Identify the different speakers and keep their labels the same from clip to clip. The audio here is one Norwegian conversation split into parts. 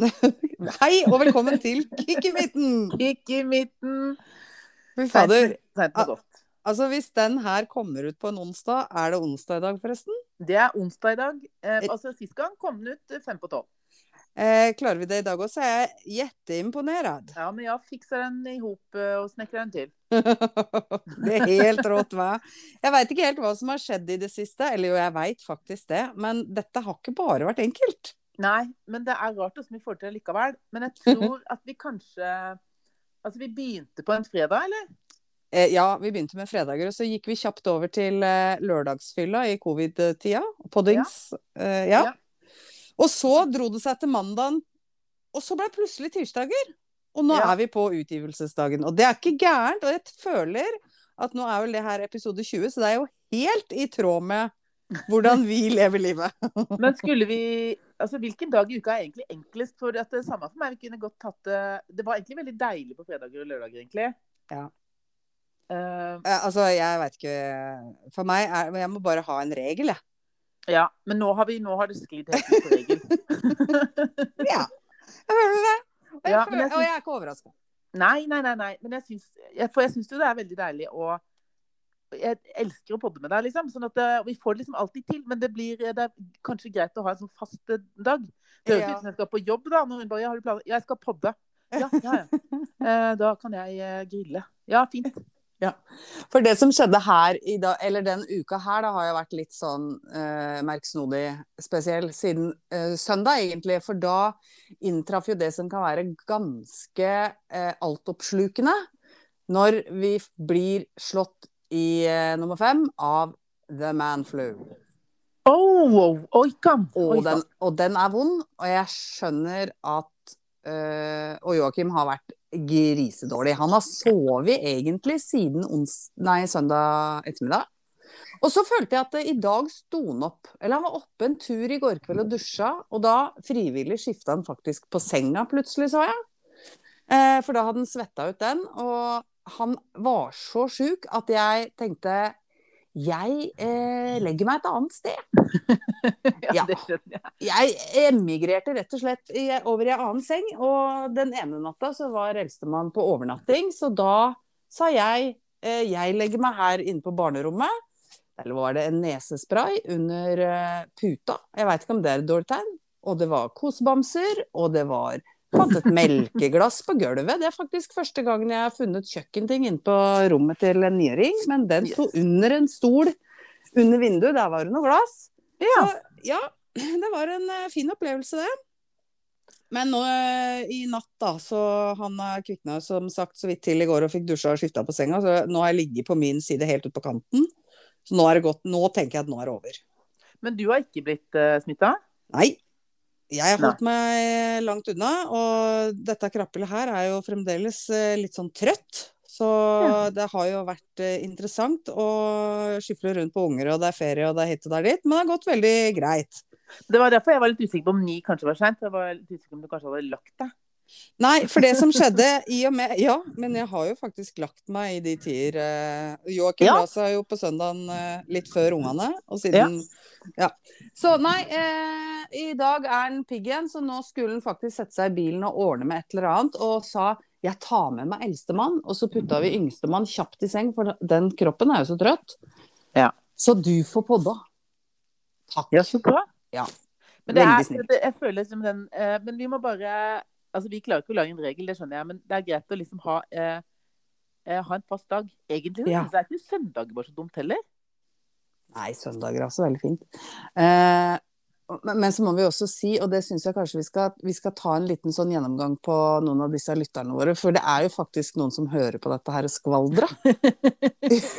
Speaker 1: Hei og velkommen til Kikkimitten!
Speaker 2: Kikk i midten.
Speaker 1: Fy fader.
Speaker 2: Sent
Speaker 1: Ah.
Speaker 2: og godt.
Speaker 1: Altså, hvis den her kommer ut på en onsdag Er det onsdag i dag, forresten?
Speaker 2: Det er onsdag i dag. Eh, altså, Sist gang kom den ut eh, fem på tolv.
Speaker 1: Eh, klarer vi det i dag òg, så er jeg jetteimponert.
Speaker 2: Ja, men jeg fikser den i hop eh, og snekrer den til.
Speaker 1: det er helt rått, hva? Jeg veit ikke helt hva som har skjedd i det siste, eller jo, jeg veit faktisk det, men dette har ikke bare vært enkelt.
Speaker 2: Nei, men det er rart hvordan vi får til det likevel. Men jeg tror at vi kanskje Altså, vi begynte på en fredag, eller?
Speaker 1: Eh, ja, vi begynte med fredager, og så gikk vi kjapt over til eh, lørdagsfylla i covid-tida. Poddings. Eh, ja.
Speaker 2: Ja.
Speaker 1: Og så dro det seg til mandagen, og så ble det plutselig tirsdager. Og nå
Speaker 2: Ja.
Speaker 1: er vi på utgivelsesdagen. Og det er ikke gærent, og jeg føler at nå er vel det her episode 20, så det er jo helt i tråd med hvordan vi lever livet.
Speaker 2: Men skulle vi Altså, hvilken dag i uka er egentlig enklest? For at det samme for meg, vi kunne godt tatt eh, det Det var egentlig veldig deilig på fredager og lørdager, egentlig.
Speaker 1: Ja.
Speaker 2: Eh,
Speaker 1: Eh, altså, jeg veit ikke For meg er Jeg må bare ha en regel, jeg.
Speaker 2: ja. Men nå har, vi, nå har det sklidd helt ut på regel.
Speaker 1: Ja. Jeg føler det. Og jeg,
Speaker 2: Ja, men
Speaker 1: føler,
Speaker 2: jeg
Speaker 1: og
Speaker 2: syns-
Speaker 1: jeg er ikke overraska.
Speaker 2: Nei, nei, nei, nei. Men jeg syns, jeg, for jeg syns jo det er veldig deilig å Jeg elsker å podde med deg, liksom. Sånn at eh, vi får det liksom alltid til. Men det blir eh, Det er kanskje greit å ha en sånn fast eh, dag. Det høres
Speaker 1: Ja.
Speaker 2: ut som jeg skal på jobb, da. Når hun bare ja, 'Har du planer?' Ja, jeg skal podde. Ja, ja, ja. Eh, da kan jeg eh, grille. Ja, fint.
Speaker 1: For det som skjedde her i dag, eller den uka her, da har jeg vært litt sånn eh, merksnodig spesiell siden eh, søndag, egentlig. For da inntraff jo det som kan være ganske eh, altoppslukende når vi f- blir slått i eh, nummer fem av The Man Flu.
Speaker 2: Oh, wow. Oi, kan.
Speaker 1: Og,
Speaker 2: Oi,
Speaker 1: den,
Speaker 2: kan.
Speaker 1: og den er vond, og jeg skjønner at eh, Og Joakim har vært grisedårlig. Han har sovet egentlig siden ons, nei, søndag ettermiddag. Og så følte jeg at eh, i dag sto han opp. Eller han var oppe en tur i går kveld og dusja, og da frivillig skifta han faktisk på senga plutselig, så jeg. Eh, for da hadde han svetta ut den, og han var så sjuk at jeg tenkte jeg eh, legger meg et annet sted. ja.
Speaker 2: ja, det skjønner jeg.
Speaker 1: Jeg emigrerte rett og slett i, over i en annen seng, og den ene natta så var eldstemann på overnatting, så da sa jeg eh, jeg legger meg her inne på barnerommet. Eller var det en nesespray under eh, puta? Jeg veit ikke om det er et dårlig tegn. Og det var kosebamser, og det var Fant et melkeglass på gulvet. Det er faktisk første gangen jeg har funnet kjøkkenting inne på rommet til en niåring, men den sto under en stol under vinduet. Der var det noe glass.
Speaker 2: Ja.
Speaker 1: Så, ja, det var en eh, fin opplevelse, det. Men nå eh, i natt, da, så han eh, kvikna som sagt så vidt til i går og fikk dusja og skifta på senga, så nå har jeg ligget på min side helt ut på kanten. Så nå er det godt. Nå tenker jeg at nå er det over.
Speaker 2: Men du har ikke blitt uh, smitta?
Speaker 1: Nei. Jeg har holdt meg eh, langt unna, og dette krappelet her er jo fremdeles eh, litt sånn trøtt. Så det har jo vært eh, interessant å skyfle rundt på unger, og det er ferie, og det er hit og det er dit. Men det har gått veldig greit.
Speaker 2: Det var derfor jeg var litt usikker på om ni kanskje var seint. Jeg var litt usikker på om du kanskje hadde lagt deg.
Speaker 1: Nei, for det som skjedde i og med Ja, men jeg har jo faktisk lagt meg i de tider eh, Joakim
Speaker 2: Ja.
Speaker 1: la seg jo på søndagen eh, litt før ungene, og siden Ja. Så nei, eh, i dag er han pigg igjen, så nå skulle han faktisk sette seg i bilen og ordne med et eller annet, og sa jeg tar med meg eldstemann, og så putta vi yngstemann kjapt i seng, for den kroppen er jo så trøtt.
Speaker 2: Ja.
Speaker 1: Så du får podda. Takk.
Speaker 2: Ja, så bra.
Speaker 1: Ja.
Speaker 2: Men det
Speaker 1: Veldig
Speaker 2: er,
Speaker 1: snill.
Speaker 2: det, jeg føler liksom den eh, Men vi må bare Altså, vi klarer ikke å lage en regel, det skjønner jeg, men det er greit å liksom ha eh, eh, ha en fast dag. Egentlig så
Speaker 1: Ja.
Speaker 2: synes jeg ikke søndager var så dumt heller.
Speaker 1: Nei, søndager er også veldig fint. Eh, men, men så må vi også si, og det syns jeg kanskje vi skal, vi skal ta en liten sånn gjennomgang på noen av disse lytterne våre, for det er jo faktisk noen som hører på dette her skvaldra.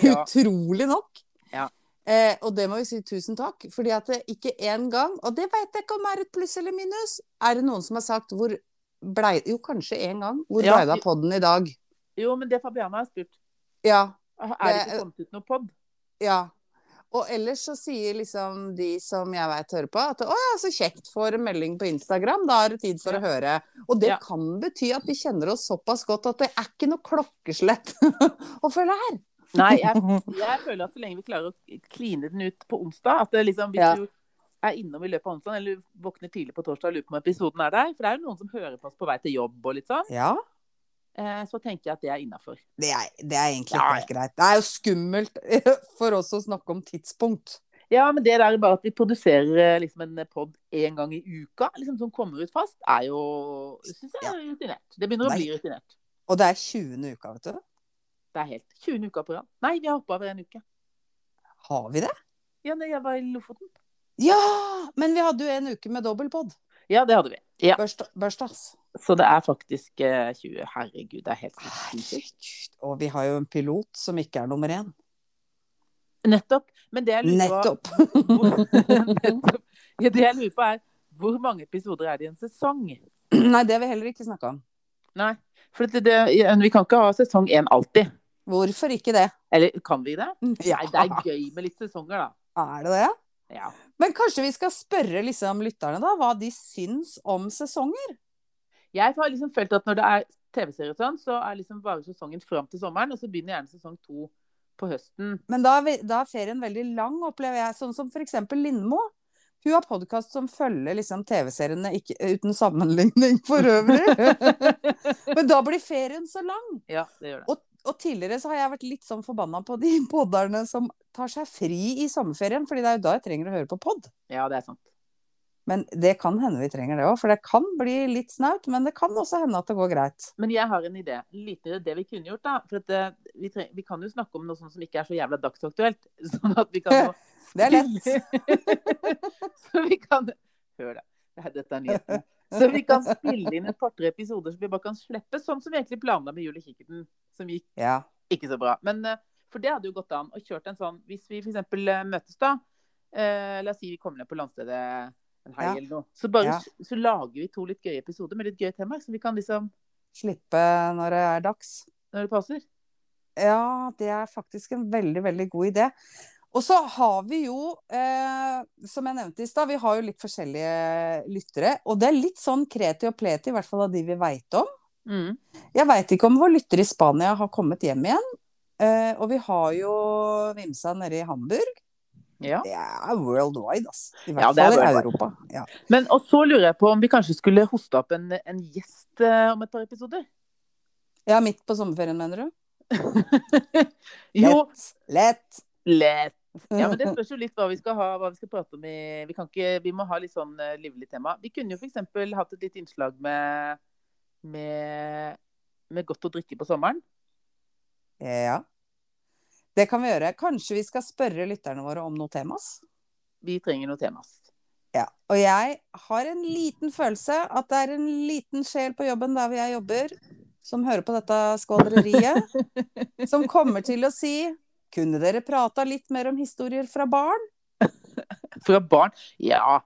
Speaker 2: Ja.
Speaker 1: Utrolig nok.
Speaker 2: Ja.
Speaker 1: Eh, og det må vi si tusen takk, fordi at det ikke én gang, og det veit jeg ikke om er et pluss eller minus, er det noen som har sagt hvor blei Jo, kanskje én gang. Hvor
Speaker 2: Ja.
Speaker 1: blei det av podden i dag?
Speaker 2: Jo, men det Fabiana har spurt.
Speaker 1: Ja.
Speaker 2: Er det
Speaker 1: Det-
Speaker 2: ikke kommet ut noe pod?
Speaker 1: Ja. Og ellers så sier liksom de som jeg veit hører på, at å ja, så kjekt, får en melding på Instagram, da er det tid for
Speaker 2: Ja.
Speaker 1: å høre. Og det
Speaker 2: Ja.
Speaker 1: kan bety at vi kjenner oss såpass godt at det er ikke noe klokkeslett å følge her.
Speaker 2: Nei, jeg, jeg føler at så lenge vi klarer å kline den ut på onsdag, at det liksom hvis
Speaker 1: Ja.
Speaker 2: du er innom i løpet av onsdagen, eller våkner tidlig på torsdag og lurer på om episoden er der. For det er jo noen som hører på oss på vei til jobb og litt sånn.
Speaker 1: Ja,
Speaker 2: Eh, så tenker jeg at det er innafor.
Speaker 1: det er, det er egentlig
Speaker 2: Ja,
Speaker 1: helt greit. Det er jo skummelt for oss å snakke om tidspunkt.
Speaker 2: Ja, men det der bare at vi produserer eh, liksom en pod én gang i uka, liksom som kommer ut fast, er jo Syns jeg
Speaker 1: Ja.
Speaker 2: er rutinert. Det begynner å
Speaker 1: Nei.
Speaker 2: bli rutinert.
Speaker 1: Og det er 20. uka, vet du.
Speaker 2: Det er helt 20 uker på rad. Nei, vi har hoppa over en uke.
Speaker 1: Har vi det?
Speaker 2: Ja, nei, jeg var i Lofoten.
Speaker 1: Ja! Men vi hadde jo en uke med dobbeltpod.
Speaker 2: Ja, det hadde vi. Ja.
Speaker 1: Børsta- Børstas.
Speaker 2: Så det er faktisk eh, 20. Herregud, det er helt sinnssykt.
Speaker 1: Herregud. Og vi har jo en pilot som ikke er nummer én.
Speaker 2: Nettopp. Men det jeg lurer på
Speaker 1: Nettopp.
Speaker 2: Hvor- Nettopp. Ja, det jeg lurer på er hvor mange episoder er det i en sesong?
Speaker 1: Nei, det har vi heller ikke snakka om.
Speaker 2: Nei, for det, det, vi kan ikke ha sesong én alltid.
Speaker 1: Hvorfor ikke det?
Speaker 2: Eller kan vi det?
Speaker 1: Ja,
Speaker 2: Nei, det er gøy med litt sesonger, da.
Speaker 1: er det det?
Speaker 2: Ja.
Speaker 1: Men kanskje vi skal spørre liksom lytterne da, hva de syns om sesongen?
Speaker 2: Jeg har liksom følt at når det er TV-serier og sånn, så er liksom bare sesongen fram til sommeren, og så begynner gjerne sesong to på høsten.
Speaker 1: Men da, er vi- da er ferien veldig lang, opplever jeg. Sånn som for eksempel Lindmo. Hun har podkast som følger liksom TV-seriene ikke- uten sammenligning for øvrig. Men da blir ferien så lang.
Speaker 2: ja, det gjør det.
Speaker 1: Og tidligere så har jeg vært litt sånn forbanna på de podderne som tar seg fri i sommerferien, fordi det er jo da jeg trenger å høre på pod.
Speaker 2: Ja, det er sant.
Speaker 1: Men det kan hende vi trenger det òg, for det kan bli litt snaut. Men det kan også hende at det går greit.
Speaker 2: Men jeg har en idé. En liten idé det vi kunne gjort, da. For at eh, vi, treng, vi kan jo snakke om noe sånt som ikke er så jævla dagsaktuelt. Sånn at vi kan jo
Speaker 1: Det er lett.
Speaker 2: så vi kan Hør, da. Det her- Dette er nyhetene. Så vi kan spille inn et par-tre episoder som vi bare kan slippe. Sånn som vi egentlig planla med Jul i kikkerten, som gikk
Speaker 1: Ja.
Speaker 2: ikke så bra. Men eh, for det hadde jo gått an å kjørt en sånn Hvis vi f.eks. møtes, da. Eh, la oss si vi kommer ned på landstedet en helg
Speaker 1: Ja.
Speaker 2: eller noe. Så, bare,
Speaker 1: Ja.
Speaker 2: så lager vi to litt gøye episoder med litt gøye temaer, så vi kan liksom
Speaker 1: Slippe når det er dags.
Speaker 2: Når det passer.
Speaker 1: Ja, det er faktisk en veldig, veldig god idé. Og så har vi jo, eh, som jeg nevnte i stad, vi har jo litt forskjellige lyttere. Og det er litt sånn kreti og pleti, i hvert fall av de vi veit om.
Speaker 2: Mm.
Speaker 1: Jeg veit ikke om vår lytter i Spania har kommet hjem igjen. Eh, og vi har jo Vimsa nede i Hamburg.
Speaker 2: Ja.
Speaker 1: Det er worldwide, altså. I
Speaker 2: Ja,
Speaker 1: hvert
Speaker 2: det er
Speaker 1: fall i
Speaker 2: worldwide.
Speaker 1: Europa. Ja.
Speaker 2: Men, og så lurer jeg på om vi kanskje skulle hoste opp en, en gjest eh, om et par episoder?
Speaker 1: ja, midt på sommerferien, mener du?
Speaker 2: jo,
Speaker 1: Lett!
Speaker 2: lett. Ja, men Det spørs jo litt hva vi skal ha, hva vi skal prate om i Vi, kan ikke, vi må ha litt sånn eh, livlig tema. Vi kunne jo f.eks. hatt et lite innslag med, med, med godt å drikke på sommeren.
Speaker 1: Ja. Det kan vi gjøre. Kanskje vi skal spørre lytterne våre om noe tema? ass?
Speaker 2: Vi trenger noe tema. ass.
Speaker 1: Ja, og jeg har en liten følelse at det er en liten sjel på jobben der hvor jeg jobber, som hører på dette skåleriet, som kommer til å si kunne dere prata litt mer om historier fra barn?
Speaker 2: Fra barn Ja,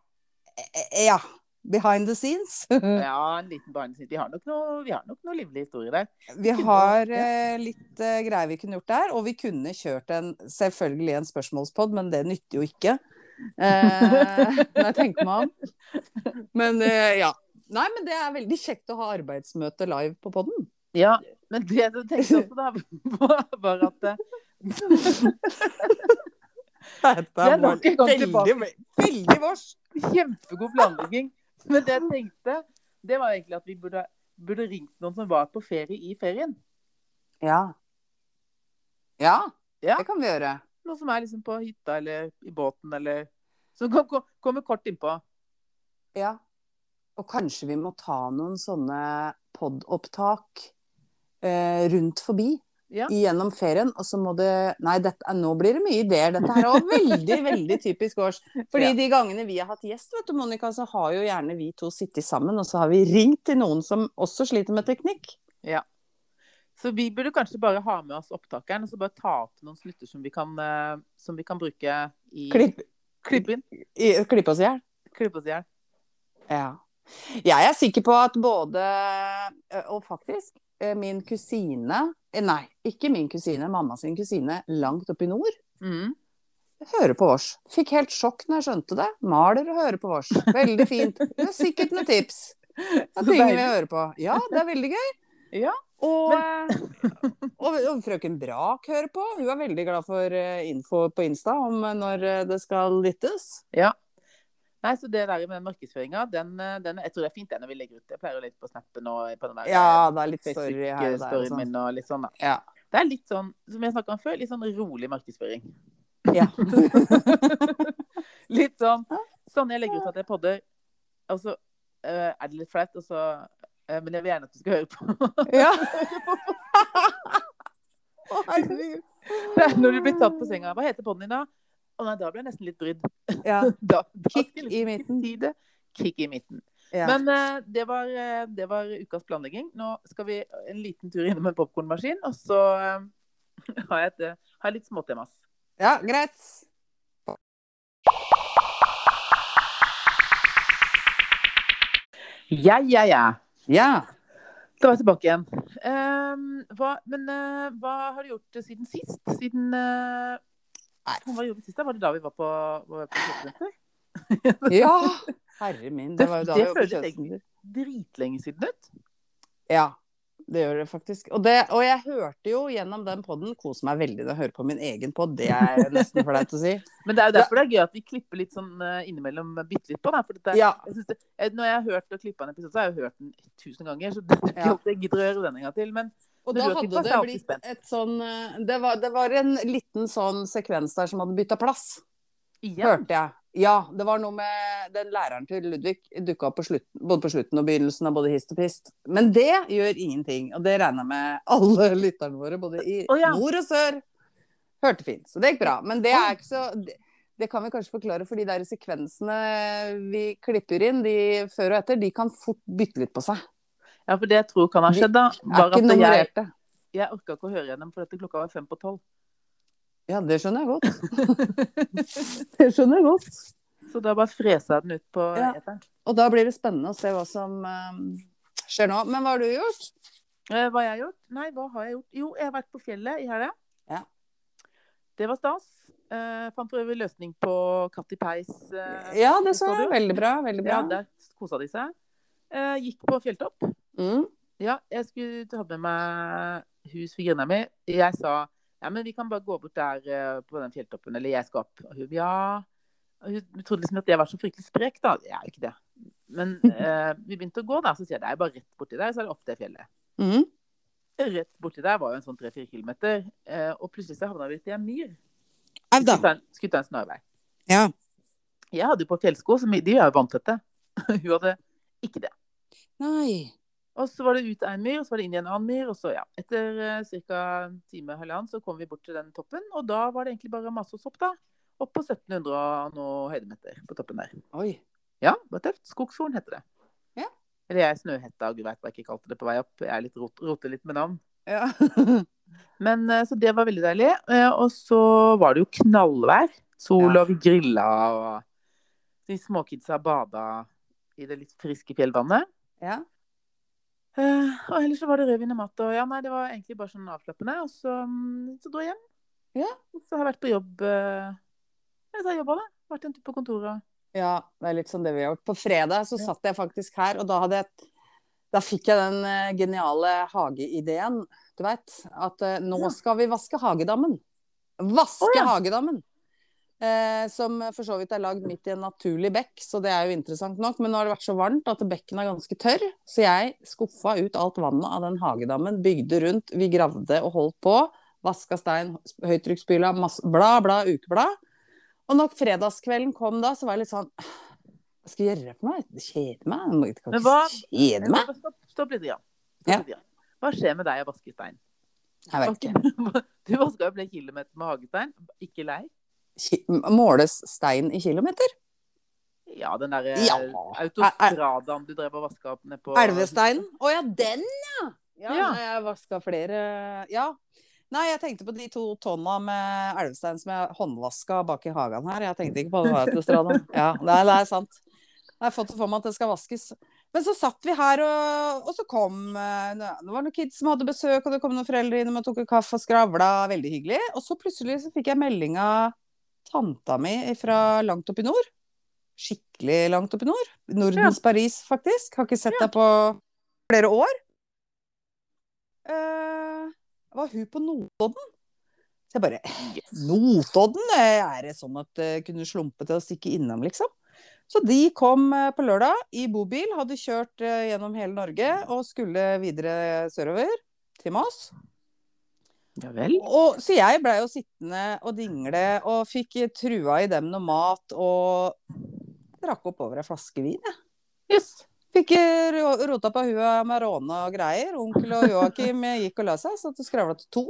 Speaker 1: Eh, Ja. Behind the scenes.
Speaker 2: ja en liten barnesnitt. Vi har nok noe, vi har nok noe livlig historie der.
Speaker 1: Vi har eh, litt eh, greier vi kunne gjort der. Og vi kunne kjørt en, selvfølgelig en spørsmålspod, men det nytter jo ikke. Eh, når jeg tenker meg om. Men eh, ja. Nei, men det er veldig kjekt å ha arbeidsmøte live på podden.
Speaker 2: Ja, men det jeg tenkte også da, var at eh,
Speaker 1: Dette
Speaker 2: Det er nok en gang tilbake.
Speaker 1: veldig, veldig vårs.
Speaker 2: Kjempegod planlegging. Men det jeg tenkte, det var egentlig at vi burde, burde ringt noen som var på ferie i ferien.
Speaker 1: Ja. ja.
Speaker 2: Ja.
Speaker 1: det kan vi gjøre.
Speaker 2: Noen som er liksom på hytta eller i båten eller Som kan ko- komme kort innpå.
Speaker 1: Ja. Og kanskje vi må ta noen sånne podopptak eh, rundt forbi
Speaker 2: Ja.
Speaker 1: gjennom ferien, og så må det Nei, dette, nå blir det mye ideer. Dette her var veldig, veldig typisk vårs. Fordi
Speaker 2: Ja.
Speaker 1: de gangene vi har hatt gjest, vet du, Monica, så har jo gjerne vi to sittet sammen, og så har vi ringt til noen som også sliter med teknikk.
Speaker 2: Så vi burde kanskje bare ha med oss opptakeren og så bare ta opp noen snutter som vi kan, eh, som vi kan bruke i
Speaker 1: Klipp,
Speaker 2: Klipp inn.
Speaker 1: i- klipp oss i hjel.
Speaker 2: Klipp oss i hjel.
Speaker 1: Ja. Jeg er sikker på at både eh, Og faktisk, eh, min kusine eh, Nei, ikke min kusine, mamma sin kusine langt oppe i nord.
Speaker 2: Mm.
Speaker 1: Hører på vårs. Fikk helt sjokk når jeg skjønte det. Maler og hører på vårs. Veldig fint. Det er sikkert noen tips. Det er ting vi hører på. Ja, det er veldig gøy.
Speaker 2: Ja,
Speaker 1: Og, eh, og, og frøken Brak hører på. Hun er veldig glad for eh, info på Insta om eh, når eh, det skal lyttes.
Speaker 2: Nei, så det der med markedsføringa, den, eh, den, jeg tror det er fint det når vi legger ut. Jeg pleier å legge på snappen og på den der eh,
Speaker 1: Ja, det er litt story her og der. og
Speaker 2: Facebook-storyen
Speaker 1: sånn.
Speaker 2: min og litt sånn, da.
Speaker 1: Ja.
Speaker 2: Det er litt sånn, som jeg snakka om før, litt sånn rolig markedsføring.
Speaker 1: Ja.
Speaker 2: litt sånn Sånn jeg legger ut at jeg podder, og så eh, er det litt flaut, og så eh, Men jeg vil gjerne at du skal høre på.
Speaker 1: ja. Å, herregud.
Speaker 2: Det er Når du blir tatt på senga. Hva heter podden din da? Å nei, da blir jeg nesten litt brydd.
Speaker 1: Ja.
Speaker 2: Da, da
Speaker 1: Kick i
Speaker 2: skal jeg liksom ikke
Speaker 1: midten.
Speaker 2: Si det. Kick i midten.
Speaker 1: ja.
Speaker 2: Men eh, det, var, eh, det var ukas planlegging. Nå skal vi en liten tur innom en popkornmaskin, og så eh, har jeg, et, eh, har jeg litt småtemas.
Speaker 1: ja, greit.
Speaker 2: Ja, ja, ja.
Speaker 1: Ja.
Speaker 2: Da var jeg tilbake igjen. Ehm, hva, men eh, hva har du gjort siden sist? Siden eh,
Speaker 1: Nei.
Speaker 2: Hva gjorde vi sist? da? Var det da vi var på, var vi på kjøpesenter?
Speaker 1: Ja. Herre min, det var jo da
Speaker 2: Det-
Speaker 1: vi var på
Speaker 2: det føles
Speaker 1: kjøpesenter.
Speaker 2: Dritlenge siden ut.
Speaker 1: Ja, det gjør det faktisk. Og, det, og jeg hørte jo gjennom den podden Kos meg veldig når jeg hører på min egen podd. Det er nesten flaut å si.
Speaker 2: Men det er jo derfor det er gøy at vi klipper litt sånn eh, innimellom eh, bitte litt på. Da, for det er,
Speaker 1: Ja.
Speaker 2: jeg synes det, eh, når jeg har hørt og klippa en episode, så har jeg jo hørt den tusen ganger. Så det er ikke
Speaker 1: Ja.
Speaker 2: alltid jeg gidder å gjøre den en gang til. Men
Speaker 1: Og
Speaker 2: Men
Speaker 1: da
Speaker 2: du har
Speaker 1: hadde
Speaker 2: tippa, så
Speaker 1: det
Speaker 2: jeg er alltid
Speaker 1: blitt
Speaker 2: spent.
Speaker 1: et sånn eh, det var, det var en liten sånn sekvens der som hadde bytta plass,
Speaker 2: igjen
Speaker 1: hørte jeg. Ja, det var noe med den læreren til Ludvig dukka opp på slutten, både på slutten og begynnelsen av både hist og pist. Men det gjør ingenting, og det regner jeg med alle lytterne våre, både i
Speaker 2: Å, ja.
Speaker 1: nord og sør, hørte fint. Så det gikk bra. Men det er ikke så det, det kan vi kanskje forklare, for de der sekvensene vi klipper inn de før og etter, de kan fort bytte litt på seg.
Speaker 2: Ja, for det jeg tror kan ha skjedd, da,
Speaker 1: Det er
Speaker 2: var
Speaker 1: ikke
Speaker 2: at jeg,
Speaker 1: nummererte.
Speaker 2: jeg orka ikke å høre gjennom, for dette klokka var fem på tolv.
Speaker 1: Ja, det skjønner jeg godt. det skjønner jeg godt.
Speaker 2: Så da bare fresa jeg den ut på
Speaker 1: Ja.
Speaker 2: eteren.
Speaker 1: Og da blir det spennende å se hva som eh, skjer nå. Men hva har du gjort?
Speaker 2: Eh, hva har jeg gjort? Nei, hva har jeg gjort? Jo, jeg har vært på fjellet i helga.
Speaker 1: Ja.
Speaker 2: Det var stas. Eh, fant for øvrig løsning på Katti Peis. eh,
Speaker 1: Ja, det så
Speaker 2: så
Speaker 1: jeg.
Speaker 2: du?
Speaker 1: Veldig bra. Veldig bra.
Speaker 2: Ja, der kosa de seg. Eh, gikk på fjelltopp.
Speaker 1: Mm.
Speaker 2: Ja, jeg skulle ta med meg hus svigerinna mi. Jeg sa ja, men vi kan bare gå bort der eh, på den fjelltoppen, eller jeg skal opp. Og hun ja. Og hun trodde liksom at jeg var så fryktelig sprek, da. Jeg er jo ikke det. Men eh, vi begynte å gå, da. Så sier jeg det er bare rett borti der, så er det opp det fjellet.
Speaker 1: Mm.
Speaker 2: Rett borti der var jo en sånn tre-fire kilometer. eh, og plutselig så havna vi ute i en myr.
Speaker 1: Au da.
Speaker 2: Skulle ta en- skulle ta en snarvei.
Speaker 1: Ja.
Speaker 2: Jeg hadde jo på fjellsko, så de er jo vanntette. hun hadde ikke det.
Speaker 1: Nei.
Speaker 2: Og så var det ut av en myr, og så var det inn i en annen myr. Og så, ja. Etter eh, ca. en time og halvannen så kom vi bort til den toppen, og da var det egentlig bare å mase oss opp, da. Opp på 1700 og noe høydemeter på toppen der.
Speaker 1: Oi.
Speaker 2: Ja, det var tøft. Skogshorn heter det.
Speaker 1: Ja.
Speaker 2: Eller jeg Snøhetta, og gud veit hva jeg ikke kalte det på vei opp. Jeg er litt rot, roter litt med navn.
Speaker 1: Ja.
Speaker 2: Men eh, så det var veldig deilig. Eh, Og så var det jo knallvær. Sol,
Speaker 1: Ja.
Speaker 2: og vi grilla, og de småkidsa bada i det litt friske fjellvannet.
Speaker 1: ja.
Speaker 2: Eh, og ellers så var det rødvin og mat. Og ja, nei, det var egentlig bare sånn avslappende. Og så, mm, så dro jeg hjem.
Speaker 1: Ja.
Speaker 2: Og Så har jeg vært på jobb. eh, ja, så har jeg jobba, da. Vært en tur på kontoret.
Speaker 1: Ja, det er litt sånn det vi har gjort. På fredag så
Speaker 2: Ja.
Speaker 1: satt jeg faktisk her, og da hadde jeg Da fikk jeg den eh, geniale hageideen, du veit. At eh, nå
Speaker 2: Ja.
Speaker 1: skal vi vaske hagedammen. Vaske
Speaker 2: Å, ja.
Speaker 1: hagedammen! Eh, som for så vidt er lagd midt i en naturlig bekk, så det er jo interessant nok. Men nå har det vært så varmt at bekken er ganske tørr, så jeg skuffa ut alt vannet av den hagedammen, bygde rundt, vi gravde og holdt på. Vaska stein, høytrykksspyla, masse- bla, bla, ukeblad. Og når fredagskvelden kom da, så var jeg litt sånn Hva skal jeg gjøre for noe? Det kjeder meg. Jeg må- Jeg kan
Speaker 2: Men
Speaker 1: ikke
Speaker 2: hva-
Speaker 1: kjede meg.
Speaker 2: Stopp, stopp litt. Ja.
Speaker 1: Ja.
Speaker 2: Stopp litt, ja. Hva skjer med deg og vaskestein?
Speaker 1: Jeg vet ikke.
Speaker 2: Du vaska jo flere kilometer med hagestein. Ikke lei?
Speaker 1: Ki- Måles stein i kilometer?
Speaker 2: Ja, den derre
Speaker 1: Ja.
Speaker 2: autostradaen du drev og vaska opp nede på
Speaker 1: Elvesteinen? Å ja, den, ja! Ja,
Speaker 2: Ja.
Speaker 1: Nei, jeg vaska flere Ja. Nei, jeg tenkte på de to tonna med elvestein som jeg håndvaska bak i hagen her. Jeg tenkte ikke på det var til stranda. Ja, nei, det er sant. Jeg har fått det for meg at det skal vaskes. Men så satt vi her, og, og så kom eh, Det var noen kids som hadde besøk, og det kom noen foreldre innom og tok en kaffe og skravla. Veldig hyggelig. Og så plutselig så fikk jeg melding av tanta mi fra langt opp i nord. Skikkelig langt opp i nord. Nordens Paris, faktisk. Har ikke sett deg på flere år. Eh, var hun på Notodden? Så jeg bare
Speaker 2: Yes.
Speaker 1: eh, Notodden? eh, Er det sånn at det kunne slumpe til å stikke innom, liksom? Så de kom eh, på lørdag i bobil, hadde kjørt eh, gjennom hele Norge og skulle videre sørover til Moss.
Speaker 2: Ja vel.
Speaker 1: Og, så jeg blei jo sittende og dingle og fikk eh, trua i dem noe mat og drakk opp over ei flaske vin. jeg.
Speaker 2: Yes.
Speaker 1: Fikk eh, ro- rota på hua med råne og greier. Onkel og Joakim eh, gikk og la seg, så det skravla til to.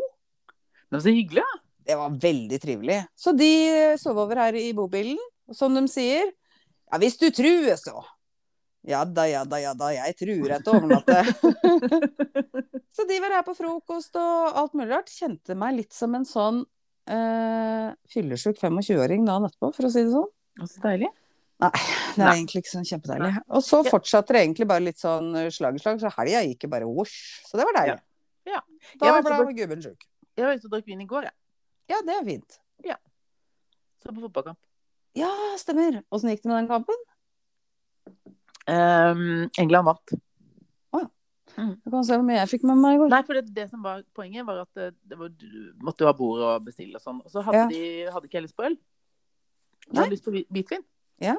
Speaker 2: Men så hyggelig, da.
Speaker 1: Det var veldig trivelig. Så de eh, sov over her i bobilen, og som de sier. Ja, hvis du truer, så. Ja da, ja da, ja da, jeg truer etter å overnatte. så de var her på frokost og alt mulig rart. Kjente meg litt som en sånn eh, fyllesjuk 25-åring dagen etterpå, for å si det sånn.
Speaker 2: Å, Så deilig.
Speaker 1: Det er
Speaker 2: Nei.
Speaker 1: egentlig ikke sånn kjempedeilig. Og så fortsatte det egentlig bare litt sånn eh, slag i slag, så helga gikk jo bare vosj. Så det var deilig.
Speaker 2: Ja.
Speaker 1: Da
Speaker 2: Jeg var så
Speaker 1: ble gubben sjuk.
Speaker 2: Jeg var ute og drakk vin i går, jeg.
Speaker 1: Ja, det er fint.
Speaker 2: Så på fotballkamp.
Speaker 1: Ja, stemmer. Åssen gikk det med den kampen?
Speaker 2: Ehm, England vant.
Speaker 1: Du kan se hvor mye jeg fikk med meg i går.
Speaker 2: Nei, for det, det som var poenget, var at det, det var, du måtte jo ha bord og bestille og sånn. Og så hadde
Speaker 1: Ja.
Speaker 2: de hadde ikke jeg lyst på øl. De
Speaker 1: Nei.
Speaker 2: hadde lyst på hvit- hvitvin.
Speaker 1: Ja.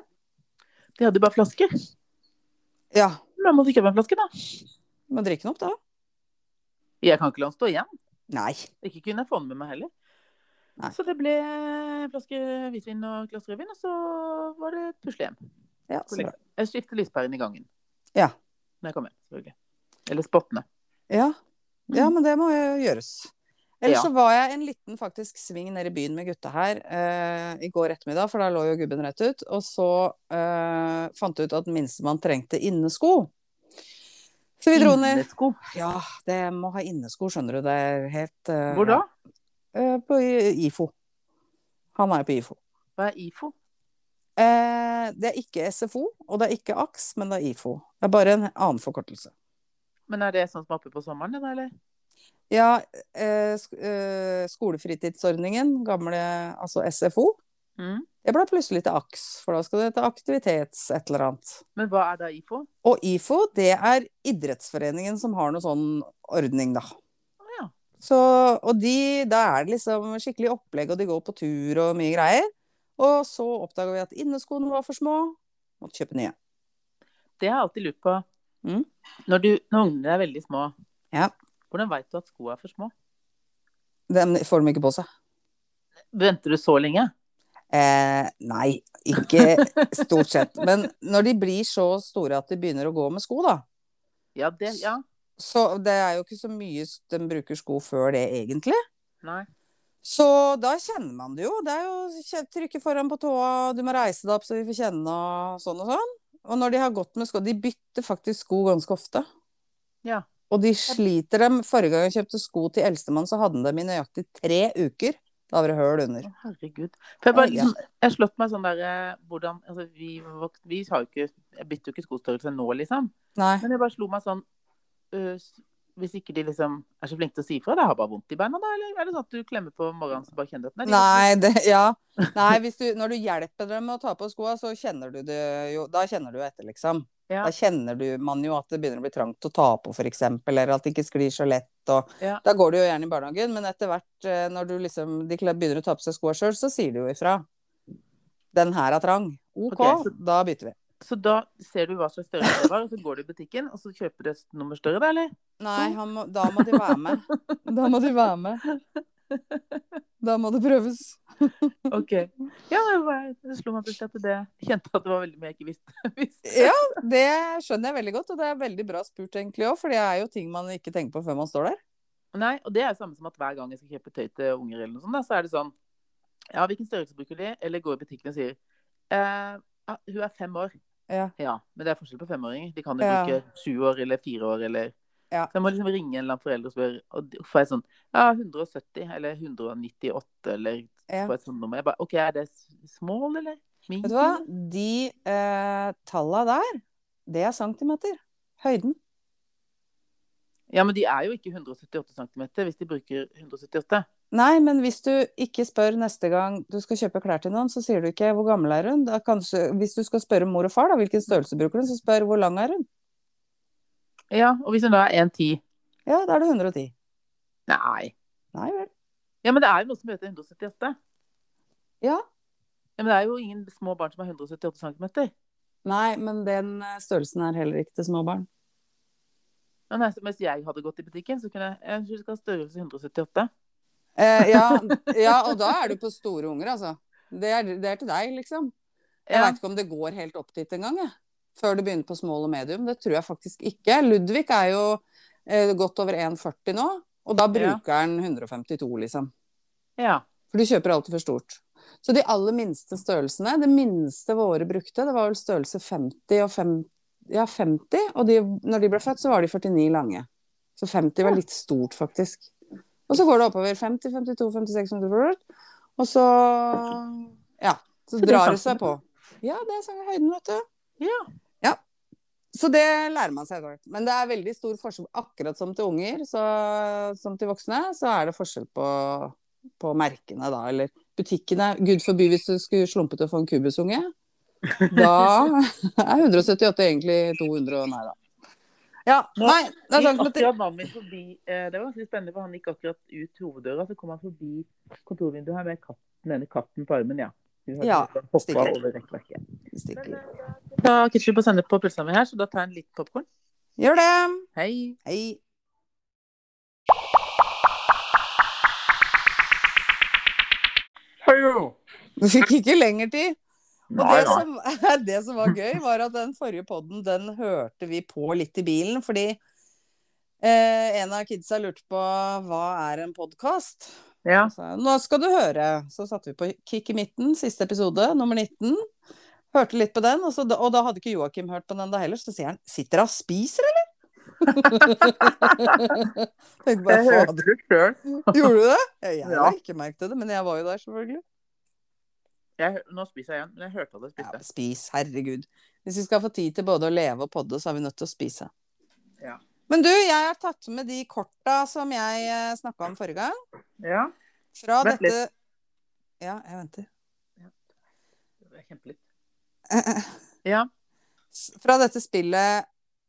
Speaker 2: De hadde bare flasker.
Speaker 1: Ja,
Speaker 2: Da måtte jeg kjøpe en flaske, da.
Speaker 1: må drikke den opp da.
Speaker 2: Jeg kan ikke la den stå igjen.
Speaker 1: Nei.
Speaker 2: Ikke kunne jeg få den med meg heller.
Speaker 1: Nei.
Speaker 2: Så det ble en flaske hvitvin og et glass rødvin, og så var det et puslehjem.
Speaker 1: Ja, så bra.
Speaker 2: Jeg skifter lyspæren i gangen.
Speaker 1: Ja.
Speaker 2: Når jeg kommer, selvfølgelig. Eller spottene.
Speaker 1: Ja. ja, men det må jo gjøres. Ellers
Speaker 2: Mm. Ja.
Speaker 1: så var jeg en liten faktisk sving nede i byen med gutta her eh, i går ettermiddag, for da lå jo gubben rett ut. Og så eh, fant jeg ut at minstemann trengte innesko. Så vi dro ned
Speaker 2: Innesko.
Speaker 1: Ja, det må ha innesko, skjønner du. Det er helt eh,
Speaker 2: Hvor da?
Speaker 1: Eh, på I- IFO. Han er jo på IFO.
Speaker 2: Hva er IFO?
Speaker 1: Eh, det er ikke SFO, og det er ikke AKS, men det er IFO. Det er bare en annen forkortelse.
Speaker 2: Men er det sånn som er oppe på sommeren, da, eller?
Speaker 1: Ja, eh, sk eh, skolefritidsordningen, gamle, altså SFO,
Speaker 2: Mm.
Speaker 1: det ble plutselig til AKS, for da skal det hete aktivitets et eller annet.
Speaker 2: Men hva er da IFO?
Speaker 1: Og IFO, det er idrettsforeningen som har noe sånn ordning, da.
Speaker 2: ja.
Speaker 1: Så, og de, da er det liksom skikkelig opplegg, og de går på tur og mye greier. Og så oppdaga vi at inneskoene var for små, måtte kjøpe nye.
Speaker 2: Det har jeg alltid lurt på.
Speaker 1: Mm.
Speaker 2: Når, du, når ungene er veldig små,
Speaker 1: Ja.
Speaker 2: hvordan veit du at sko er for små?
Speaker 1: Den får de ikke på seg.
Speaker 2: Venter du så lenge?
Speaker 1: Eh, nei, ikke stort sett. Men når de blir så store at de begynner å gå med sko, da.
Speaker 2: Ja, det Ja.
Speaker 1: Så det er jo ikke så mye s- de bruker sko før det, egentlig.
Speaker 2: Nei.
Speaker 1: Så da kjenner man det jo. Det er jo kje- trykke foran på tåa, du må reise deg opp så vi får kjenne og sånn og sånn. Og når de har gått med sko De bytter faktisk sko ganske ofte.
Speaker 2: Ja.
Speaker 1: Og de sliter dem. Forrige gang jeg kjøpte sko til eldstemann, så hadde han dem i nøyaktig tre uker. Da var det høl under.
Speaker 2: Å, herregud. For jeg, bare,
Speaker 1: Ja.
Speaker 2: liksom, jeg har slått meg sånn der eh, hvordan, altså, vi, vok- vi har jo ikke, Jeg bytter jo ikke skostørrelse nå, liksom.
Speaker 1: Nei.
Speaker 2: Men jeg bare slo meg sånn øh, s- Hvis ikke de liksom er så flinke til å si ifra, da har jeg bare vondt i beina, da? Eller er det sånn at du klemmer på morgenen så bare kjenner du at nei,
Speaker 1: Nei, det, ja. Nei hvis du, når du hjelper dem med å ta på skoa, så kjenner du det jo Da kjenner du etter, liksom.
Speaker 2: Ja.
Speaker 1: Da kjenner du man jo at det begynner å bli trangt å ta på, for eksempel, eller at det ikke sklir så lett. Og,
Speaker 2: Ja.
Speaker 1: Da går du jo gjerne i barnehagen, men etter hvert eh, når du liksom, de kle- begynner å ta på seg skoa sjøl, så sier du jo ifra. Den her er trang. OK,
Speaker 2: Ok, så-
Speaker 1: da bytter vi.
Speaker 2: Så da ser du hva slags størrelse det var, og så går du i butikken, og så kjøper du et nummer større, da, eller?
Speaker 1: Nei, han må, da må de være med. Da må de være med. Da må det prøves.
Speaker 2: OK. Ja, jeg bare- det slo meg plutselig at det kjente at det var veldig mye jeg ikke visste. visste.
Speaker 1: Ja, det skjønner jeg veldig godt, og det er veldig bra spurt egentlig òg, for det er jo ting man ikke tenker på før man står der.
Speaker 2: Nei, og det er jo samme som at hver gang jeg skal kjøpe tøy til unger, eller noe sånt, da, så er det sånn Ja, hvilken størrelse bruker de? Eller går i butikken og sier eh, ah, Hun er fem år.
Speaker 1: Ja.
Speaker 2: Men det er forskjell på femåringer. De kan jo
Speaker 1: Ja.
Speaker 2: bruke sju år eller fire år eller
Speaker 1: Ja.
Speaker 2: Så jeg må liksom ringe en eller annen forelder og spørre. Og de- får jeg sånn Ja, 170 eller 198 eller
Speaker 1: Ja.
Speaker 2: får jeg et sånt nummer. Jeg bare OK, er det s- small eller? Medium?
Speaker 1: Vet du hva? De eh, talla der, det er centimeter. Høyden.
Speaker 2: Ja, men de er jo ikke 178 cm hvis de bruker 178.
Speaker 1: Nei, men hvis du ikke spør neste gang du skal kjøpe klær til noen, så sier du ikke 'hvor gammel er hun'? Da kanskje, hvis du skal spørre mor og far da, hvilken størrelse bruker hun, så spør 'hvor lang er hun'?
Speaker 2: Ja, og hvis hun da er 1,10
Speaker 1: Ja, da er det 110.
Speaker 2: Nei.
Speaker 1: Nei vel.
Speaker 2: Ja, men det er jo noe som heter 178.
Speaker 1: Ja.
Speaker 2: Ja, men det er jo ingen små barn som er 178 cm.
Speaker 1: Nei, men den eh, størrelsen er heller ikke til små barn.
Speaker 2: Men altså, mens jeg hadde gått i butikken, så kunne jeg Jeg synes jeg skal ha størrelse 178.
Speaker 1: Eh, ja, ja, og da er du på store unger, altså. Det er, det er til deg, liksom. Jeg
Speaker 2: Ja.
Speaker 1: veit ikke om det går helt opp dit engang, jeg. Før du begynner på small og medium. Det tror jeg faktisk ikke. Ludvig er jo eh, godt over 1,40 nå, og da
Speaker 2: Ja.
Speaker 1: bruker han 152, liksom.
Speaker 2: ja.
Speaker 1: For du kjøper alltid for stort. Så de aller minste størrelsene, det minste våre brukte, det var vel størrelse 50 og 5, ja, 50, og de, når de ble født, så var de 49 lange. Så 50 var litt stort, faktisk. Og så går det oppover. 50, 52, 56, 54. Og så Ja. Så
Speaker 2: Så det er
Speaker 1: drar det
Speaker 2: samme.
Speaker 1: seg på. Ja, det er samme høyden, vet du.
Speaker 2: Ja.
Speaker 1: ja. Så det lærer man seg etter hvert. Men det er veldig stor forskjell. Akkurat som til unger, så, som til voksne, så er det forskjell på, på merkene, da. Eller butikkene. Gud forby hvis du skulle slumpe til å få en kubusunge. Da er 178 egentlig 200 og nei da. Ja,
Speaker 2: Nå-
Speaker 1: nei, det er
Speaker 2: Gikk
Speaker 1: sånn at
Speaker 2: akkurat mannen min forbi eh, Det var ganske spennende, for han gikk akkurat ut hoveddøra, så kom han forbi kontorvinduet her med katten, den ene katten på armen, ja. Hun hadde
Speaker 1: Ja,
Speaker 2: hoppet
Speaker 1: stikker.
Speaker 2: over rekkverket.
Speaker 1: stikker.
Speaker 2: Ta ketchup og sennep på pølsa mi her, så da tar jeg en litt popkorn.
Speaker 1: Gjør det.
Speaker 2: Hei.
Speaker 1: Hei.
Speaker 2: Hallo.
Speaker 1: Vi fikk ikke lenger tid. Og
Speaker 2: Nei,
Speaker 1: det, som, det som var gøy, var at den forrige podden, den hørte vi på litt i bilen, fordi eh, en av kidsa lurte på hva er en podkast?
Speaker 2: Ja.
Speaker 1: Nå skal du høre. Så satte vi på Kick i midten, siste episode, nummer 19. Hørte litt på den, og, så, da- og da hadde ikke Joakim hørt på den da heller, så sier han 'sitter han og spiser, eller?' Tenkte bare,
Speaker 2: Jeg hørte
Speaker 1: fader.
Speaker 2: det sjøl.
Speaker 1: Gjorde du det? Jeg, jeg
Speaker 2: Ja.
Speaker 1: la ikke merke til det, men jeg var jo der, selvfølgelig.
Speaker 2: Nå spiser jeg igjen, men jeg hørte alle
Speaker 1: Ja,
Speaker 2: spiste.
Speaker 1: spis, herregud. Hvis vi skal få tid til både å leve og podde, så er vi nødt til å spise.
Speaker 2: Ja.
Speaker 1: Men du, jeg har tatt med de korta som jeg snakka om forrige gang.
Speaker 2: Ja.
Speaker 1: Fra
Speaker 2: Vent
Speaker 1: dette Ja, jeg venter.
Speaker 2: Jeg kjemper litt. Ja.
Speaker 1: S- Fra dette spillet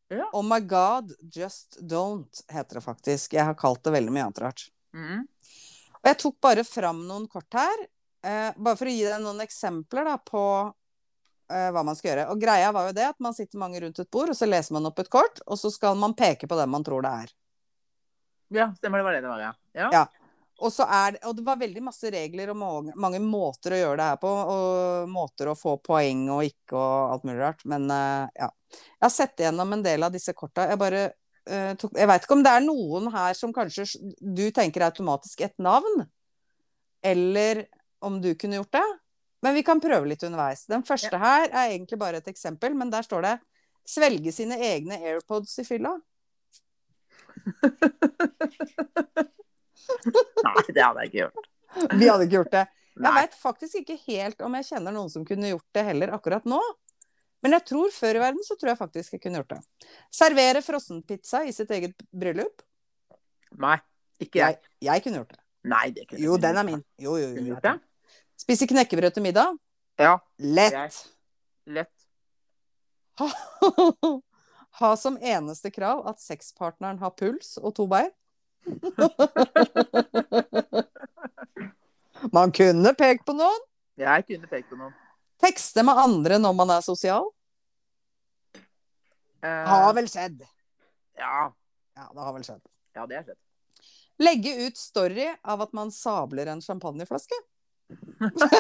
Speaker 2: Ja.
Speaker 1: Oh my God, Just Don't, heter det faktisk. Jeg har kalt det veldig mye annet rart.
Speaker 2: Mm.
Speaker 1: Og jeg tok bare fram noen kort her, eh, bare for å gi deg noen eksempler da, på eh, hva man skal gjøre. Og greia var jo det at man sitter mange rundt et bord, og så leser man opp et kort, og så skal man peke på den man tror det er.
Speaker 2: ja, stemmer det var det det var, ja. Ja.
Speaker 1: Ja. Og, så er det, og det var veldig masse regler og mange, mange måter å gjøre det her på, og måter å få poeng og ikke og alt mulig rart. Men eh, ja. Jeg har sett gjennom en del av disse korta. Jeg bare eh, tok Jeg veit ikke om det er noen her som kanskje s- du tenker automatisk et navn, eller om du kunne gjort det. Men vi kan prøve litt underveis. Den første her er egentlig bare et eksempel, men der står det 'svelge sine egne AirPods i fylla'.
Speaker 2: Nei, det hadde jeg ikke gjort.
Speaker 1: Vi hadde ikke gjort det. Jeg
Speaker 2: Nei.
Speaker 1: veit faktisk ikke helt om jeg kjenner noen som kunne gjort det heller akkurat nå. Men jeg tror før i verden så tror jeg faktisk jeg kunne gjort det. Servere frossenpizza i sitt eget bryllup.
Speaker 2: Nei. Ikke jeg.
Speaker 1: Jeg kunne gjort det.
Speaker 2: Nei, det kunne
Speaker 1: Jo,
Speaker 2: jeg
Speaker 1: den er
Speaker 2: ikke.
Speaker 1: min. Jo, jo,
Speaker 2: Kunne du
Speaker 1: jo.
Speaker 2: gjort det?
Speaker 1: Spise knekkebrød til middag.
Speaker 2: Ja.
Speaker 1: Lett.
Speaker 2: Lett.
Speaker 1: Ha, ha som eneste krav at sexpartneren har puls og to bein. Man kunne pekt på noen.
Speaker 2: Jeg kunne pekt på noen.
Speaker 1: Tekste med andre når man er sosial.
Speaker 2: Eh,
Speaker 1: Har vel skjedd.
Speaker 2: ja.
Speaker 1: Ja, det har vel skjedd.
Speaker 2: ja, det har skjedd.
Speaker 1: Legge ut story av at man sabler en champagneflaske. Det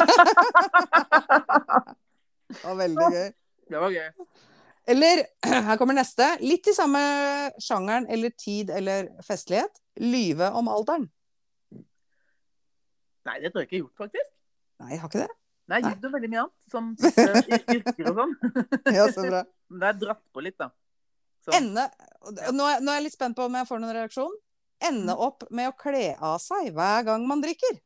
Speaker 1: var veldig gøy.
Speaker 2: Det var gøy.
Speaker 1: Eller, her kommer neste. Litt i samme sjangeren eller tid eller festlighet. Lyve om alderen.
Speaker 2: Nei, det tror jeg ikke jeg har gjort, faktisk.
Speaker 1: Nei, jeg har ikke det.
Speaker 2: Nei, jeg har gjort noe veldig mye annet. Som eh, yrker og sånn.
Speaker 1: Ja, så bra.
Speaker 2: Men det er dratt på litt, da. Så,
Speaker 1: Ende og det- Nå er nå er jeg litt spent på om jeg får noen reaksjon. Ende opp med å kle av seg hver gang man drikker.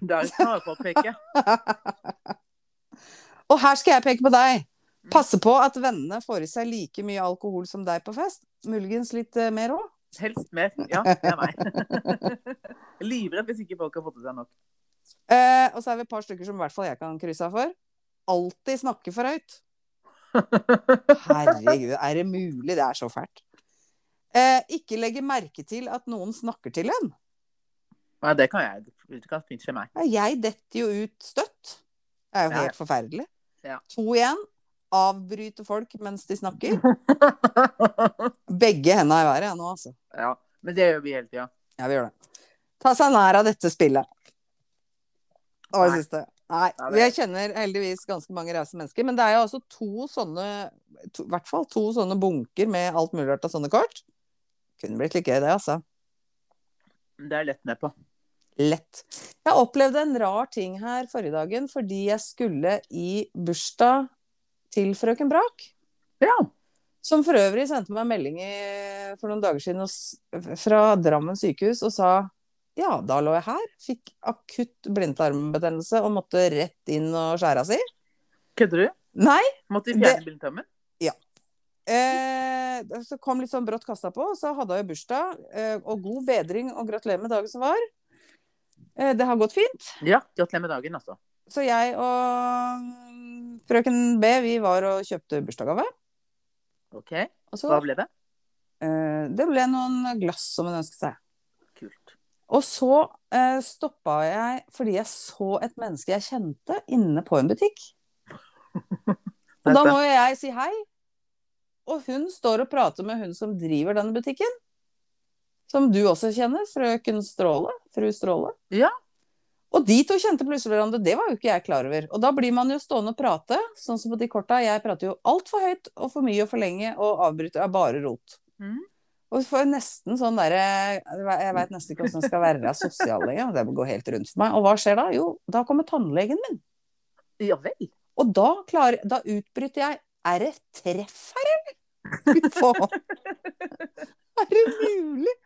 Speaker 2: det er ikke noe å peke.
Speaker 1: Og her skal jeg peke på deg. Passe på at vennene får i seg like mye alkohol som deg på fest. Muligens litt eh, mer òg.
Speaker 2: Helst mer. Ja, det er meg. Livredd hvis ikke folk har fått i seg nok.
Speaker 1: Eh, og så er vi et par stykker som i hvert fall jeg kan krysse av for. Alltid snakke for høyt. Herregud, er det mulig? Det er så fælt. Eh, ikke legge merke til at noen snakker til en.
Speaker 2: Nei, det kan jeg. Det kan fint skje meg.
Speaker 1: Ja, Jeg detter jo ut støtt. Det er jo
Speaker 2: Ja.
Speaker 1: helt forferdelig.
Speaker 2: Ja.
Speaker 1: To igjen. Avbryte folk mens de snakker. Begge hendene i været ja, nå, altså.
Speaker 2: ja. Men det gjør vi hele tida.
Speaker 1: Ja, vi gjør det. Ta seg nær av dette spillet. Det var
Speaker 2: Nei.
Speaker 1: det siste. Nei.
Speaker 2: Ja,
Speaker 1: Jeg
Speaker 2: det-
Speaker 1: kjenner heldigvis ganske mange rause mennesker, men det er jo altså to sånne to, I hvert fall to sånne bunker med alt mulig rart av sånne kort. Kunne blitt litt gøy, det, altså.
Speaker 2: Det er jeg lett med på.
Speaker 1: Lett. Jeg opplevde en rar ting her forrige dagen fordi jeg skulle i bursdag til frøken Brak.
Speaker 2: Ja.
Speaker 1: Som for øvrig sendte meg en melding i, for noen dager siden og, s- fra Drammen sykehus og sa ja, da lå jeg her. Fikk akutt blindtarmbetennelse og måtte rett inn og skjæra si.
Speaker 2: Kødder du?
Speaker 1: Nei!
Speaker 2: Måtte vi fjerne
Speaker 1: Det-
Speaker 2: blindtarmen?
Speaker 1: Eh, så kom litt sånn brått kasta på, og så hadde hun jo bursdag. Eh, og god bedring og gratulerer med dagen som var. Eh, det har gått fint.
Speaker 2: Ja. Gratulerer med dagen, altså.
Speaker 1: Så jeg og mm, frøken B, vi var og kjøpte bursdagsgave.
Speaker 2: OK.
Speaker 1: Og så
Speaker 2: Hva ble det?
Speaker 1: eh, Det ble noen glass som hun ønsket seg.
Speaker 2: Kult.
Speaker 1: Og så eh, stoppa jeg fordi jeg så et menneske jeg kjente, inne på en butikk. Og da må jo jeg si hei. Og hun står og prater med hun som driver denne butikken. Som du også kjenner, frøken Stråle. Fru Stråle.
Speaker 2: Ja.
Speaker 1: Og de to kjente plutselig hverandre, det var jo ikke jeg klar over. Og da blir man jo stående og prate, sånn som på de korta. Jeg prater jo altfor høyt og for mye og for lenge og avbryter er bare rot.
Speaker 2: Mhm.
Speaker 1: Og får nesten sånn derre Jeg veit nesten ikke åssen jeg skal være sosial lenger. Det går helt rundt for meg. Og hva skjer da? Jo, da kommer tannlegen min.
Speaker 2: Ja vel.
Speaker 1: Og da, klarer, da utbryter jeg Er det treff her, eller? Fy faen. Er det mulig?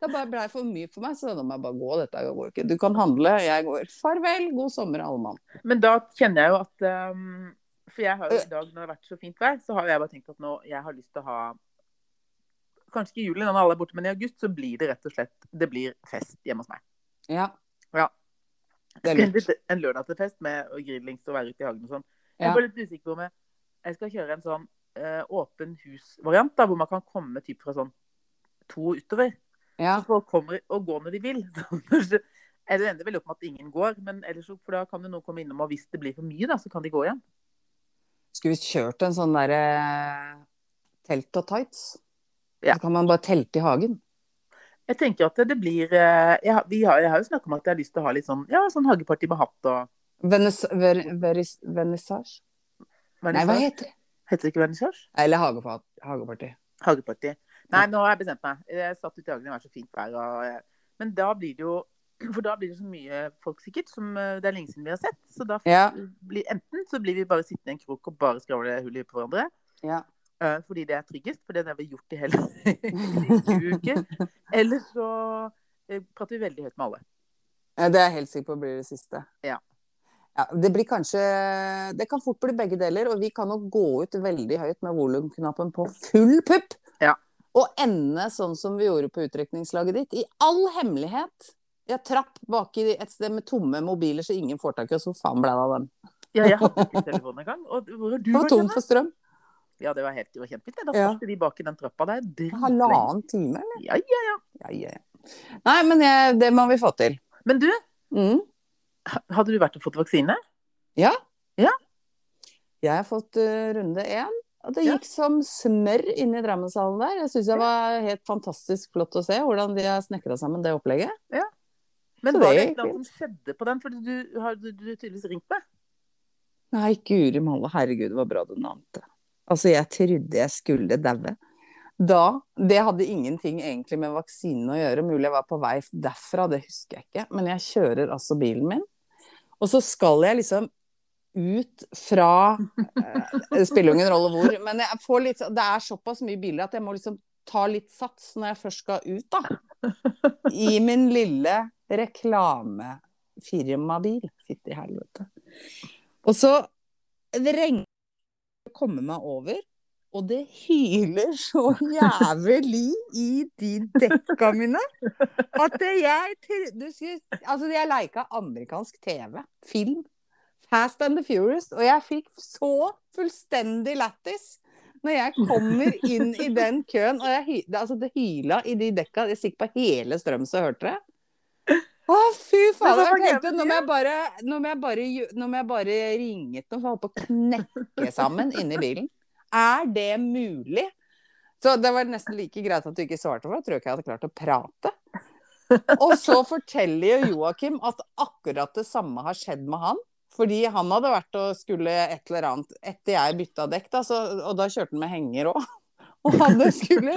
Speaker 1: Det bare blei for mye for meg, så nå må jeg bare gå. Dette går ikke. Du kan handle, jeg går. Farvel, god sommer, alle mann.
Speaker 2: Men da kjenner jeg jo at ehm, For jeg har jo i dag, når det har vært så fint vær, så har jeg bare tenkt at nå jeg har lyst til å ha Kanskje ikke i juli når alle er borte, men i august så blir det rett og slett Det blir fest hjemme hos meg.
Speaker 1: Ja.
Speaker 2: Ja.
Speaker 1: Det er lurt.
Speaker 2: En lørdag til fest med grillings og være ute i hagen og sånn. Jeg
Speaker 1: Ja.
Speaker 2: er bare litt usikker på om jeg, jeg skal kjøre en sånn eh, åpen hus-variant, da, hvor man kan komme typ fra sånn to utover.
Speaker 1: Ja.
Speaker 2: Så folk kommer og går når de vil. Så kanskje- Eller det ender vel opp med at ingen går, men ellers, så- for da kan jo noen komme innom, og hvis det blir for mye, da, så kan de gå igjen.
Speaker 1: Skulle vi kjørt en sånn derre telt og tights?
Speaker 2: Ja.
Speaker 1: Så kan man bare telte i hagen.
Speaker 2: Jeg tenker at det blir eh, jeg, har- vi har, jeg har jo snakket om at jeg har lyst til å ha litt sånn, ja, sånn hageparti med hatt og
Speaker 1: Venis- ver- veris- Vernissasje? Nei, hva
Speaker 2: vernissasje.
Speaker 1: heter det?
Speaker 2: Heter det ikke vernissasje?
Speaker 1: Eller hagepa- hageparty.
Speaker 2: Hageparti.
Speaker 1: Mm.
Speaker 2: Nei, nå har jeg bestemt meg. Jeg satt ute i hagen, det var så fint vær. Og, eh, men da blir det jo For da blir det så mye folk sikkert, som eh, det er lenge siden vi har sett. Så da
Speaker 1: Ja.
Speaker 2: blir, enten så blir vi bare sittende i en krok og bare skravle hull i på hverandre.
Speaker 1: Ja.
Speaker 2: eh, fordi det er tryggest, for det har vi gjort i hele i uke. Eller så eh, prater vi veldig høyt med alle.
Speaker 1: Ja, det er jeg helt sikker på blir det siste.
Speaker 2: Ja.
Speaker 1: Ja, det blir kanskje Det kan fort bli begge deler, og vi kan nok gå ut veldig høyt med volumknappen på full pupp.
Speaker 2: Ja.
Speaker 1: Og ende sånn som vi gjorde på utdrikningslaget ditt. I all hemmelighet. Jeg trapp baki et sted med tomme mobiler, så ingen får tak i oss. Hvor faen ble det av dem?
Speaker 2: Ja, jeg hadde ikke telefon engang. Og hvor har du
Speaker 1: Det var
Speaker 2: vært
Speaker 1: tom
Speaker 2: henne?
Speaker 1: for strøm.
Speaker 2: Ja, det var helt det var kjempefint. det. Da
Speaker 1: Ja.
Speaker 2: satt vi bak i den trappa der. dritlenge.
Speaker 1: Halvannen time, eller?
Speaker 2: Ja, ja.
Speaker 1: Ja, ja, ja. Nei, men jeg, det må vi få til.
Speaker 2: Men du,
Speaker 1: Mm.
Speaker 2: hadde du vært og fått vaksine?
Speaker 1: Jeg har fått eh, runde én, og det
Speaker 2: Ja.
Speaker 1: gikk som smør inn i Drammenshallen der. Jeg syns det var helt fantastisk flott å se hvordan de har snekra sammen det opplegget.
Speaker 2: Men
Speaker 1: Så
Speaker 2: var
Speaker 1: det
Speaker 2: det
Speaker 1: gikk
Speaker 2: et eller annet som skjedde på den? For du har du, du har tydeligvis ringt meg.
Speaker 1: Nei, guri malla, herregud, det var bra du nevnte. Altså, jeg trodde jeg skulle daue. Da Det hadde ingenting egentlig med vaksinen å gjøre, mulig jeg var på vei derfra, det husker jeg ikke. Men jeg kjører altså bilen min, og så skal jeg liksom ut fra eh, Det spiller jo ingen rolle hvor, men jeg får litt, det er såpass mye biler at jeg må liksom ta litt sats når jeg først skal ut, da. I min lille reklamefirmabil. Fytti helvete. Og så det regner å komme meg over, og det hyler så jævlig i de dekka mine at det jeg tro- du skulle, Altså, jeg leika amerikansk TV, film, Fast and the Furious, og jeg fikk så fullstendig lættis når jeg kommer inn i den køen, og jeg, hy- det- altså, det hyla i de dekka, jeg er sikker på hele Strømsø hørte det. Å, fy fader.
Speaker 2: var
Speaker 1: Jeg tenkte
Speaker 2: jævlig
Speaker 1: nå må jeg bare, nå må jeg bare, gjø- nå må jeg bare ringe til noen, for jeg holdt på å knekke sammen inni bilen. Er det mulig? Så det var nesten like greit at du ikke svarte, for da tror jeg ikke jeg hadde klart å prate. Og så forteller jo Joakim at akkurat det samme har skjedd med han. Fordi han hadde vært og skulle et eller annet etter jeg bytta dekk, da, så, og da kjørte han med henger òg. Og hadde skulle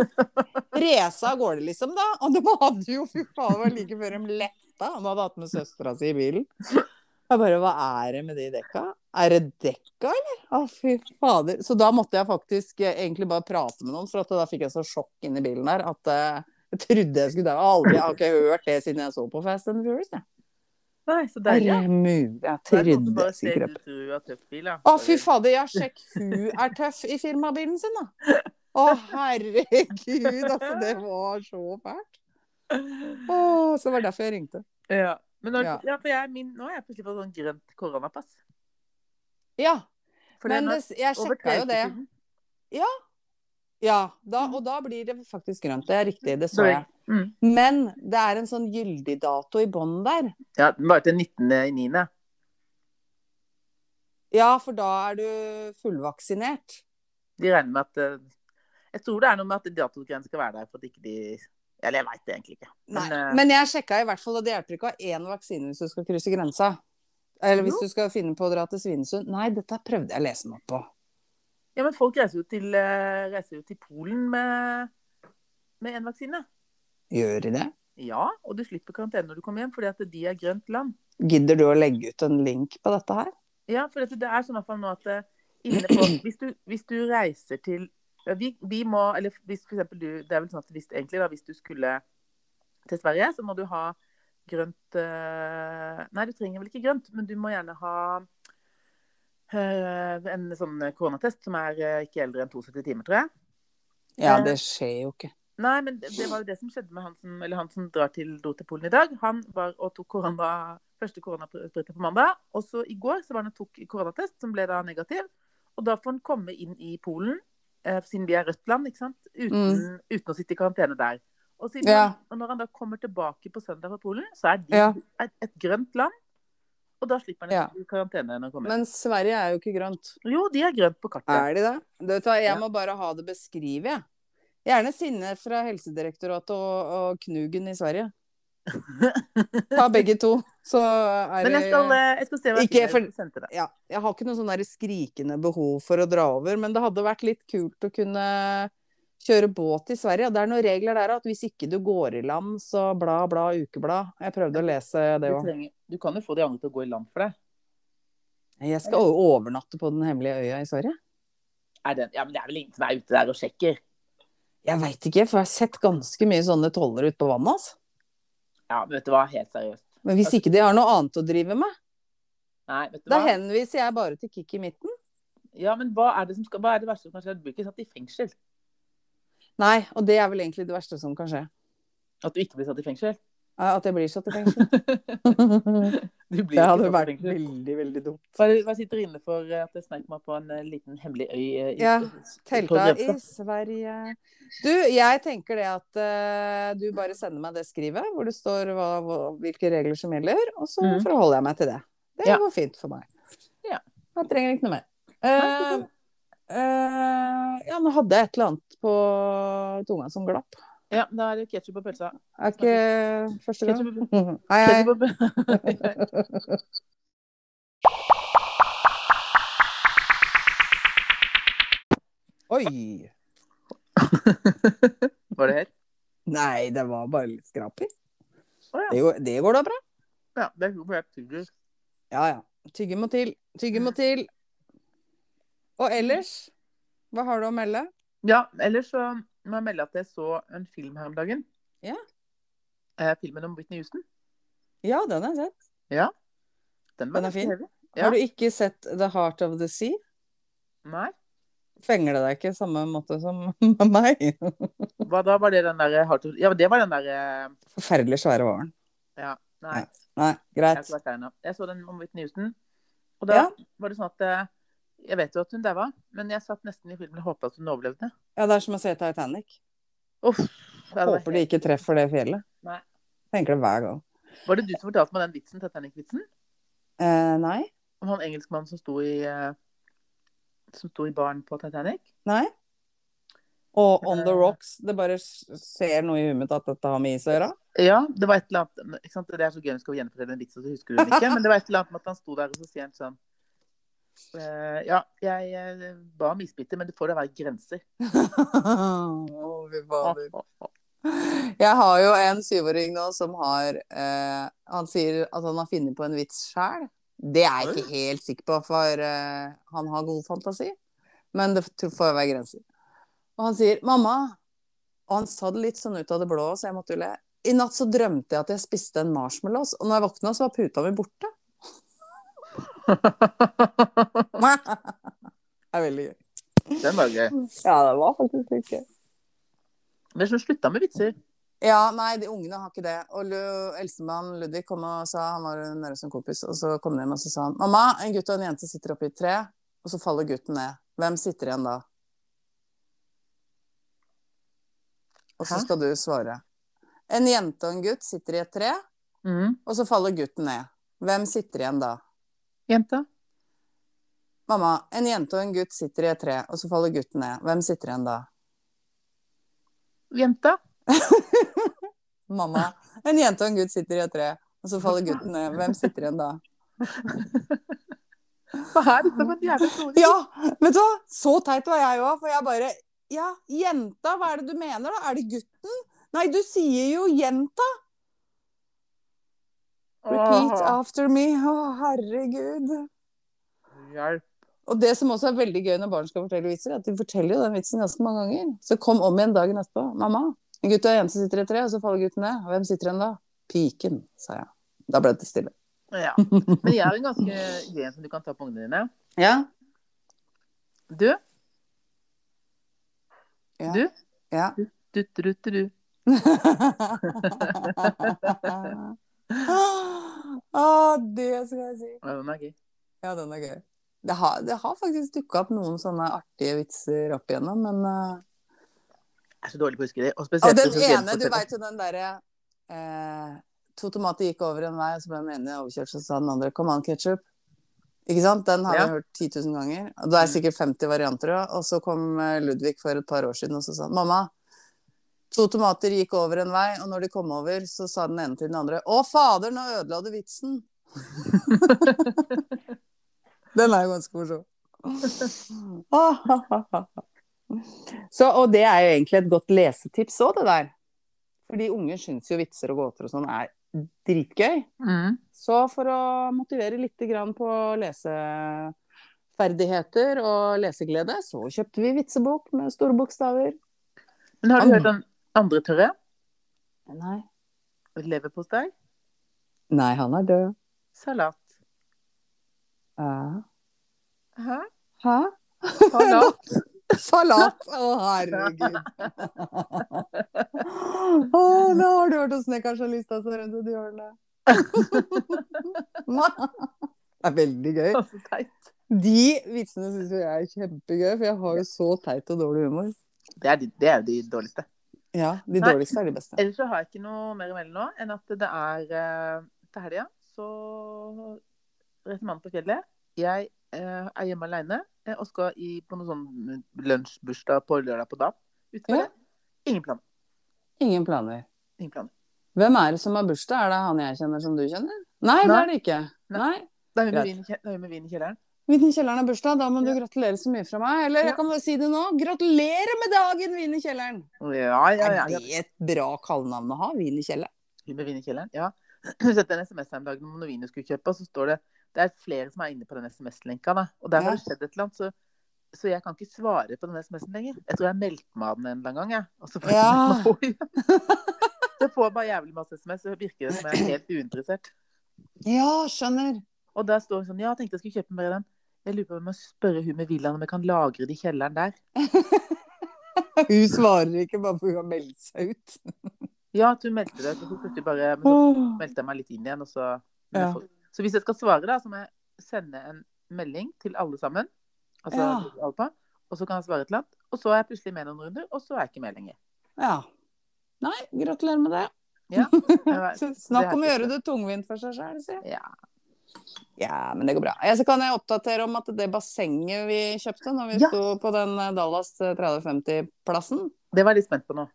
Speaker 1: race av gårde, liksom, da. Og de hadde jo Fy faen, det var like før de letta. Han hadde hatt med søstera si i bilen. Jeg bare Hva er det med de dekka? Er det dekka, eller? Å, fy fader. Så da måtte jeg faktisk eh, egentlig bare prate med noen, for at da fikk jeg så sjokk inni bilen der at eh, jeg trodde jeg skulle dø. Jeg har Aldri, jeg har ikke hørt det siden jeg så på Fast and the Furious, jeg.
Speaker 2: Nei, så
Speaker 1: Er
Speaker 2: deilig.
Speaker 1: det mulig? Jeg trodde sikkert å, fy fader, ja, sjekk hun er tøff i firmabilen sin, da. Å, herregud, altså, det var så fælt. Å, så det var derfor jeg ringte.
Speaker 2: Ja. Men når,
Speaker 1: Ja.
Speaker 2: ja. for jeg, er min, nå er jeg plutselig på sånn grønt koronapass.
Speaker 1: Ja,
Speaker 2: For
Speaker 1: men
Speaker 2: det
Speaker 1: det,
Speaker 2: er
Speaker 1: jeg
Speaker 2: nå over
Speaker 1: sjekka
Speaker 2: tre
Speaker 1: jo
Speaker 2: uker
Speaker 1: det.
Speaker 2: siden.
Speaker 1: Ja, da, og da blir det faktisk grønt. Det er riktig, det så
Speaker 2: Sorry.
Speaker 1: jeg.
Speaker 2: Mm.
Speaker 1: Men det er en sånn gyldig dato i bånn der.
Speaker 2: Ja, den var til 19.9.
Speaker 1: Ja, for da er du fullvaksinert.
Speaker 2: De regner med at eh, Jeg tror det er noe med at datogrensen skal være der for at ikke de Eller jeg veit det egentlig ikke.
Speaker 1: Nei,
Speaker 2: Men, eh,
Speaker 1: men jeg sjekka i hvert fall, og det hjelper ikke å ha én vaksine hvis du skal krysse grensa. Eller hvis
Speaker 2: Jo.
Speaker 1: du skal finne på å dra til Svinesund. Nei, dette prøvde jeg å lese meg opp på.
Speaker 2: Ja, men folk reiser jo til, eh, reiser jo til Polen med, med en vaksine.
Speaker 1: Gjør de det?
Speaker 2: Ja, og du slipper karantene når du kommer hjem, fordi at de er grønt land.
Speaker 1: Gidder du å legge ut en link på dette her?
Speaker 2: Ja, for det, det er sånn at man nå at eh, inne på, hvis, du, hvis du reiser til ja, vi, vi må, eller hvis for eksempel du Det er vel sånn at hvis, egentlig da, hvis du skulle til Sverige, så må du ha grønt eh, Nei, du trenger vel ikke grønt, men du må gjerne ha eh, en sånn koronatest som er eh, ikke eldre enn 72 timer, tror jeg.
Speaker 1: Ja,
Speaker 2: Eh.
Speaker 1: det skjer jo ikke.
Speaker 2: Nei, men det, det var jo det som skjedde med han som, eller han som drar til dro til Polen i dag. Han var og tok korona, første koronaspriten på mandag. Og så i går så var han og tok koronatest, som ble da negativ. Og da får han komme inn i Polen, eh, siden vi er rødt land, ikke sant? Uten, uten å sitte i karantene der. Og, siden
Speaker 1: Mm. Ja.
Speaker 2: han, og når han da kommer tilbake på søndag fra Polen, så er de
Speaker 1: Ja.
Speaker 2: et, et grønt land. Og da slipper han
Speaker 1: Ja.
Speaker 2: ikke karantene når han kommer.
Speaker 1: Men Sverige er jo ikke grønt.
Speaker 2: jo, de er grønt på kartet.
Speaker 1: Er de det? Du vet hva, jeg
Speaker 2: Ja.
Speaker 1: må bare ha det beskrevet, jeg. Gjerne Sinne fra Helsedirektoratet og, og Knugen i Sverige. Ta begge to, så er
Speaker 2: Men jeg skal,
Speaker 1: det
Speaker 2: eh, jeg skal se hva
Speaker 1: Ikke
Speaker 2: jeg
Speaker 1: for-
Speaker 2: sendte deg.
Speaker 1: ja, jeg har ikke noe sånn der skrikende behov for å dra over, men det hadde vært litt kult å kunne kjøre båt i Sverige. Det er noen regler der at hvis ikke du går i land, så bla, bla, ukeblad. Jeg prøvde å lese
Speaker 2: Du,
Speaker 1: det òg.
Speaker 2: trenger, du kan jo få de andre til å gå i land for deg.
Speaker 1: Jeg skal o- overnatte på den hemmelige øya i Sverige.
Speaker 2: Er den, ja, men det er vel ingen som er ute der og sjekker.
Speaker 1: Jeg veit ikke, for jeg har sett ganske mye sånne toller ute på vannet. Altså.
Speaker 2: Ja, men vet du hva, helt seriøst.
Speaker 1: Men hvis ikke de har noe annet å drive med,
Speaker 2: Nei, vet du
Speaker 1: da
Speaker 2: hva?
Speaker 1: henviser jeg bare til Kikki Midten.
Speaker 2: Ja, men hva er det, som skal, hva er det verste som kan skje? Du blir ikke satt i fengsel.
Speaker 1: Nei, og det er vel egentlig det verste som kan skje.
Speaker 2: At du ikke blir satt i fengsel.
Speaker 1: Eh, At jeg blir satt i fengsel.
Speaker 2: Du
Speaker 1: Det
Speaker 2: blir ikke
Speaker 1: hadde
Speaker 2: satt i
Speaker 1: vært
Speaker 2: fengsel.
Speaker 1: veldig, veldig dumt.
Speaker 2: Hva, hva sitter inne for eh, at jeg snek meg på en eh, liten hemmelig øy eh, i,
Speaker 1: Ja,
Speaker 2: på
Speaker 1: Telta i
Speaker 2: Grønstad?
Speaker 1: Sverige Du, jeg tenker det at eh, du bare sender meg det skrivet, hvor det står hva, hva, hvilke regler som gjelder, og så
Speaker 2: Mm.
Speaker 1: forholder jeg meg til det. Det
Speaker 2: Ja.
Speaker 1: går fint for meg.
Speaker 2: Ja.
Speaker 1: Jeg trenger ikke noe mer.
Speaker 2: Nei, det går
Speaker 1: Eh, eh, ja, nå hadde jeg et eller annet på tunga som glapp.
Speaker 2: Ja, da er det ketsjup og pølsa.
Speaker 1: Er ikke første gang? Mhm.
Speaker 2: Ketchup,
Speaker 1: Hei, hei.
Speaker 2: ketchup og pølsa.
Speaker 1: Oi!
Speaker 2: Var det helt?
Speaker 1: Nei, det var bare litt skraper.
Speaker 2: Å ja.
Speaker 1: Det, går- det går da bra.
Speaker 2: ja. Det er jo bare tugger.
Speaker 1: Ja, ja. Tygge må til. Tygge må til. Og ellers, hva har du å melde?
Speaker 2: Ja, ellers så må jeg melde at jeg så en film her om dagen.
Speaker 1: Ja.
Speaker 2: Eh, filmen om Whitney Houston.
Speaker 1: Ja, den har jeg sett.
Speaker 2: Den var
Speaker 1: Den er
Speaker 2: ganske
Speaker 1: fin.
Speaker 2: heavy. Ja.
Speaker 1: Har du ikke sett The Heart of the Sea?
Speaker 2: Nei.
Speaker 1: Fenger det deg ikke samme måte som med meg?
Speaker 2: Hva da? Var det den der eh, Heart of- Ja, det var den der eh,
Speaker 1: Forferdelig svære våren.
Speaker 2: Ja. Nei.
Speaker 1: Nei,
Speaker 2: Jeg, har
Speaker 1: greit.
Speaker 2: ikke vært der ennå. jeg så den om Whitney Houston. Og da
Speaker 1: Ja.
Speaker 2: var det sånn at eh, Jeg vet jo at hun daua, men jeg satt nesten i filmen og håpet at hun overlevde.
Speaker 1: Ja, det er som å se Titanic.
Speaker 2: Uff. det var
Speaker 1: Håper de ikke treffer det fjellet.
Speaker 2: Nei.
Speaker 1: Tenker det hver gang.
Speaker 2: Var det du som fortalte meg den vitsen, Titanic-vitsen?
Speaker 1: Eh, nei?
Speaker 2: Om han engelskmannen som sto i eh, Som sto i baren på Titanic?
Speaker 1: Nei? Og On The Rocks, det bare s- ser noe i huet mitt at dette har med is å gjøre?
Speaker 2: Ja, det var et eller annet ikke sant? Det er så gøy når du skal gjenfortelle en vits, og så husker du den ikke. Men det var et eller annet med at han sto der, og så sier han sånn eh, Ja, jeg eh, ba om isbiter, men det får da være grenser.
Speaker 1: Å, fy fader. Jeg har jo en syvåring nå som har eh, Han sier at han har funnet på en vits sjæl. Det er jeg ikke helt sikker på, for eh, han har god fantasi. Men det tror- får være grenser. Og han sier 'mamma', og han sa det litt sånn ut av det blå, så jeg måtte jo le. I natt så drømte jeg at jeg spiste en marshmallows, og når jeg våkna, så var puta mi borte. det er veldig gøy.
Speaker 2: Den var gøy.
Speaker 1: Ja, det var faktisk litt gøy.
Speaker 2: Men så slutta med vitser.
Speaker 1: Ja, nei, de ungene har ikke det. Og Lu- eldstemann Ludvig kom og sa Han var nede hos en kompis, og så kom de hjem og så sa han Mamma, en gutt og en jente sitter oppi et tre, og så faller gutten ned. Hvem sitter igjen da? Og så
Speaker 2: Hæ?
Speaker 1: skal du svare. En jente og en gutt sitter i et tre,
Speaker 2: Mhm.
Speaker 1: og så faller gutten ned. Hvem sitter igjen da?
Speaker 2: Jenta.
Speaker 1: Mamma, en jente og en gutt sitter i et tre, og så faller gutten ned. Hvem sitter igjen da?
Speaker 2: Jenta.
Speaker 1: Mamma, en jente og en gutt sitter i et tre, og så faller gutten ned. Hvem sitter igjen da?
Speaker 2: Hva er dette for en jævla stor
Speaker 1: Ja, vet du hva? Så teit var jeg òg, for jeg bare Ja, jenta, hva er det du mener, da? Er det gutten? Nei, du sier jo jenta. Repeat
Speaker 2: Åh,
Speaker 1: after me. Å, herregud.
Speaker 2: Hjelp.
Speaker 1: Og det som også er veldig gøy når barn skal fortelle vitser, er at de forteller jo den vitsen ganske mange ganger. Så kom om igjen dagen etterpå. Mamma, en gutt og en jente sitter i et tre, og så faller gutten ned. Hvem sitter igjen da? Piken, sa jeg. Da ble det stille.
Speaker 2: Ja. Men jeg har en ganske gøy en som du kan ta på ungene dine.
Speaker 1: Ja.
Speaker 2: Du.
Speaker 1: Ja.
Speaker 2: Du.
Speaker 1: Ja.
Speaker 2: Du, du, du, du, du.
Speaker 1: Å, Ah, det skal jeg si.
Speaker 2: Ja, den er gøy.
Speaker 1: Ja, den er gøy. Det har, det har faktisk dukka opp noen sånne artige vitser opp igjennom, men eh,
Speaker 2: Jeg er så dårlig på å huske det. Og
Speaker 1: Og
Speaker 2: spesielt
Speaker 1: den
Speaker 2: hvis jeg
Speaker 1: ene, du
Speaker 2: forteller.
Speaker 1: veit jo den derre eh, To tomater gikk over en vei, og så ble den ene overkjørt, så sa den andre 'kom an, ketsjup'. Ikke sant? Den har
Speaker 2: Ja.
Speaker 1: vi hørt 10 000 ganger. Og det er sikkert 50 varianter òg. Og så kom eh, Ludvig for et par år siden og så sa han 'mamma'. To tomater gikk over en vei, og når de kom over, så sa den ene til den andre 'Å, fader, nå ødela du vitsen'. den er jo ganske morsom. så, og det er jo egentlig et godt lesetips òg, det der. Fordi unger syns jo vitser og gåter og sånn er dritgøy.
Speaker 2: Mhm.
Speaker 1: Så for å motivere litt grann på leseferdigheter og leseglede, så kjøpte vi vitsebok med store bokstaver.
Speaker 2: Men har du
Speaker 1: Andre.
Speaker 2: hørt den andre tørre?
Speaker 1: Nei.
Speaker 2: Leverpostei?
Speaker 1: Nei, han er død.
Speaker 2: Salat.
Speaker 1: Ja.
Speaker 2: Hæ?
Speaker 1: Hæ?
Speaker 2: Salat?
Speaker 1: Salat! Å, herregud. Å, nå har du hørt om snekkersjalista som rundt et hjørne. Det er veldig gøy.
Speaker 2: Så teit.
Speaker 1: De vitsene syns jeg er kjempegøy, for jeg har jo så teit og dårlig humor.
Speaker 2: Det er, de, det er jo de dårligste.
Speaker 1: Ja, De
Speaker 2: Nei.
Speaker 1: dårligste er de beste.
Speaker 2: Ellers så har jeg ikke noe mer å melde nå enn at det er eh, til helga. Så rett mann på fjellet. Jeg eh, er hjemme alene eh, og skal i, på noen sånn lunsjbursdag på lørdag på Dam. Utover
Speaker 1: Ja.
Speaker 2: det. Ingen plan.
Speaker 1: Ingen planer.
Speaker 2: Ingen plan.
Speaker 1: Hvem er det som har bursdag? Er det han jeg kjenner som du kjenner? Nei, det
Speaker 2: Nei.
Speaker 1: er det ikke.
Speaker 2: Nei.
Speaker 1: Nei.
Speaker 2: Det er hun
Speaker 1: Greit.
Speaker 2: med vin i kje- det er hun med vin i kjelleren.
Speaker 1: Vinn i kjelleren har bursdag, da må du
Speaker 2: Ja.
Speaker 1: gratulere så mye fra meg. Eller
Speaker 2: Ja.
Speaker 1: jeg kan bare si det nå. Gratulerer med dagen, Vinn i kjelleren!
Speaker 2: Ja, ja, ja.
Speaker 1: Er
Speaker 2: ja.
Speaker 1: det et bra kallenavn å ha? Vin i kjelleren?
Speaker 2: Hun med vin i kjelleren. Ja. Hun sendte en SMS her en dag om noe vin hun skulle kjøpe, og så står det det er flere som er inne på den SMS-lenka. da. Og der
Speaker 1: Ja.
Speaker 2: har det skjedd et eller annet, så, så jeg kan ikke svare på den SMS-en lenger. Jeg tror jeg meldte meg av den en eller annen gang, jeg. Og så får jeg
Speaker 1: Ja.
Speaker 2: meg på igjen. Så får jeg bare jævlig masse SMS, så virker det som jeg er helt uinteressert.
Speaker 1: Ja, skjønner.
Speaker 2: Og der står hun sånn Ja, jeg tenkte jeg skulle kjøpe mer av den. Jeg lurer på om jeg må spørre hun med villaen om jeg kan lagre det i kjelleren der.
Speaker 1: Hun svarer ikke bare for hun har meldt seg ut.
Speaker 2: Ja, at hun meldte det, så plutselig bare Men så
Speaker 1: Åh.
Speaker 2: meldte jeg meg litt inn igjen. Og så,
Speaker 1: Ja.
Speaker 2: så hvis jeg skal svare, da, så må jeg sende en melding til alle sammen. Altså,
Speaker 1: Ja.
Speaker 2: alle på, og så kan jeg svare et eller annet. Og så er jeg plutselig med noen runder, og så er jeg ikke med lenger.
Speaker 1: Ja. Nei, gratulerer med det.
Speaker 2: Jeg-
Speaker 1: Snakk
Speaker 2: det
Speaker 1: om å
Speaker 2: er ikke
Speaker 1: gjøre det tungvint for seg sjøl, si.
Speaker 2: Ja.
Speaker 1: Ja, men det går bra. Ja, så kan jeg oppdatere om at det bassenget vi kjøpte når vi
Speaker 2: Ja.
Speaker 1: sto på den eh, Dallas 3050-plassen,
Speaker 2: Det var jeg litt spent på nå.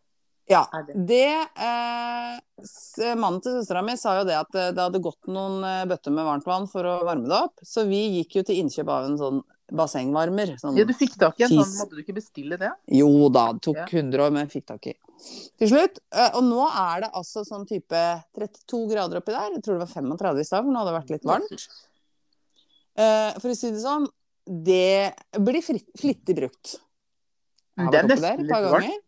Speaker 1: ja,
Speaker 2: Er det?
Speaker 1: det eh, s- Mannen til søstera mi sa jo det at eh, det hadde gått noen eh, bøtter med varmt vann for å varme det opp, så vi gikk jo til innkjøp av en sånn bassengvarmer. Sånn,
Speaker 2: Ja, du fikk tak i en sånn,
Speaker 1: Fis.
Speaker 2: måtte du ikke bestille det?
Speaker 1: Jo da, det
Speaker 2: Ja.
Speaker 1: tok 100 år, men fikk tak i. Til slutt. eh, Og nå er det altså sånn type 32 grader oppi der. Jeg tror det var 35 i stad, for nå hadde det vært litt varmt. Eh, For å si det sånn, det blir fri- flittig brukt. Jeg har
Speaker 2: Det er
Speaker 1: vært oppi der
Speaker 2: nesten
Speaker 1: et par
Speaker 2: litt varmt.
Speaker 1: ganger.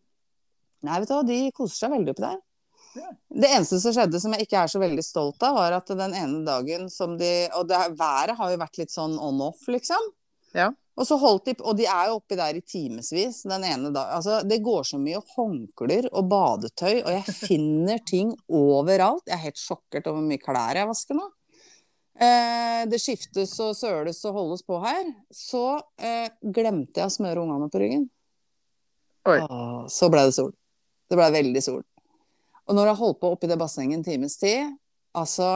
Speaker 1: Nei, vet du hva, de koser seg veldig oppi der.
Speaker 2: Ja.
Speaker 1: Det eneste som skjedde som jeg ikke er så veldig stolt av, var at den ene dagen som de Og det, er- været har jo vært litt sånn on-off, liksom.
Speaker 2: Ja.
Speaker 1: Og så holdt de Og de er jo oppi der i timevis den ene dagen. Altså, det går så mye håndklær og badetøy, og jeg finner ting overalt. Jeg er helt sjokkert over hvor mye klær jeg vasker nå. Eh, det skiftes og søles og holdes på her. Så eh, glemte jeg å smøre ungene på ryggen.
Speaker 2: Oi.
Speaker 1: Åh, Så ble det sol. Det ble veldig sol. Og når jeg holdt på oppi det bassenget en times tid, altså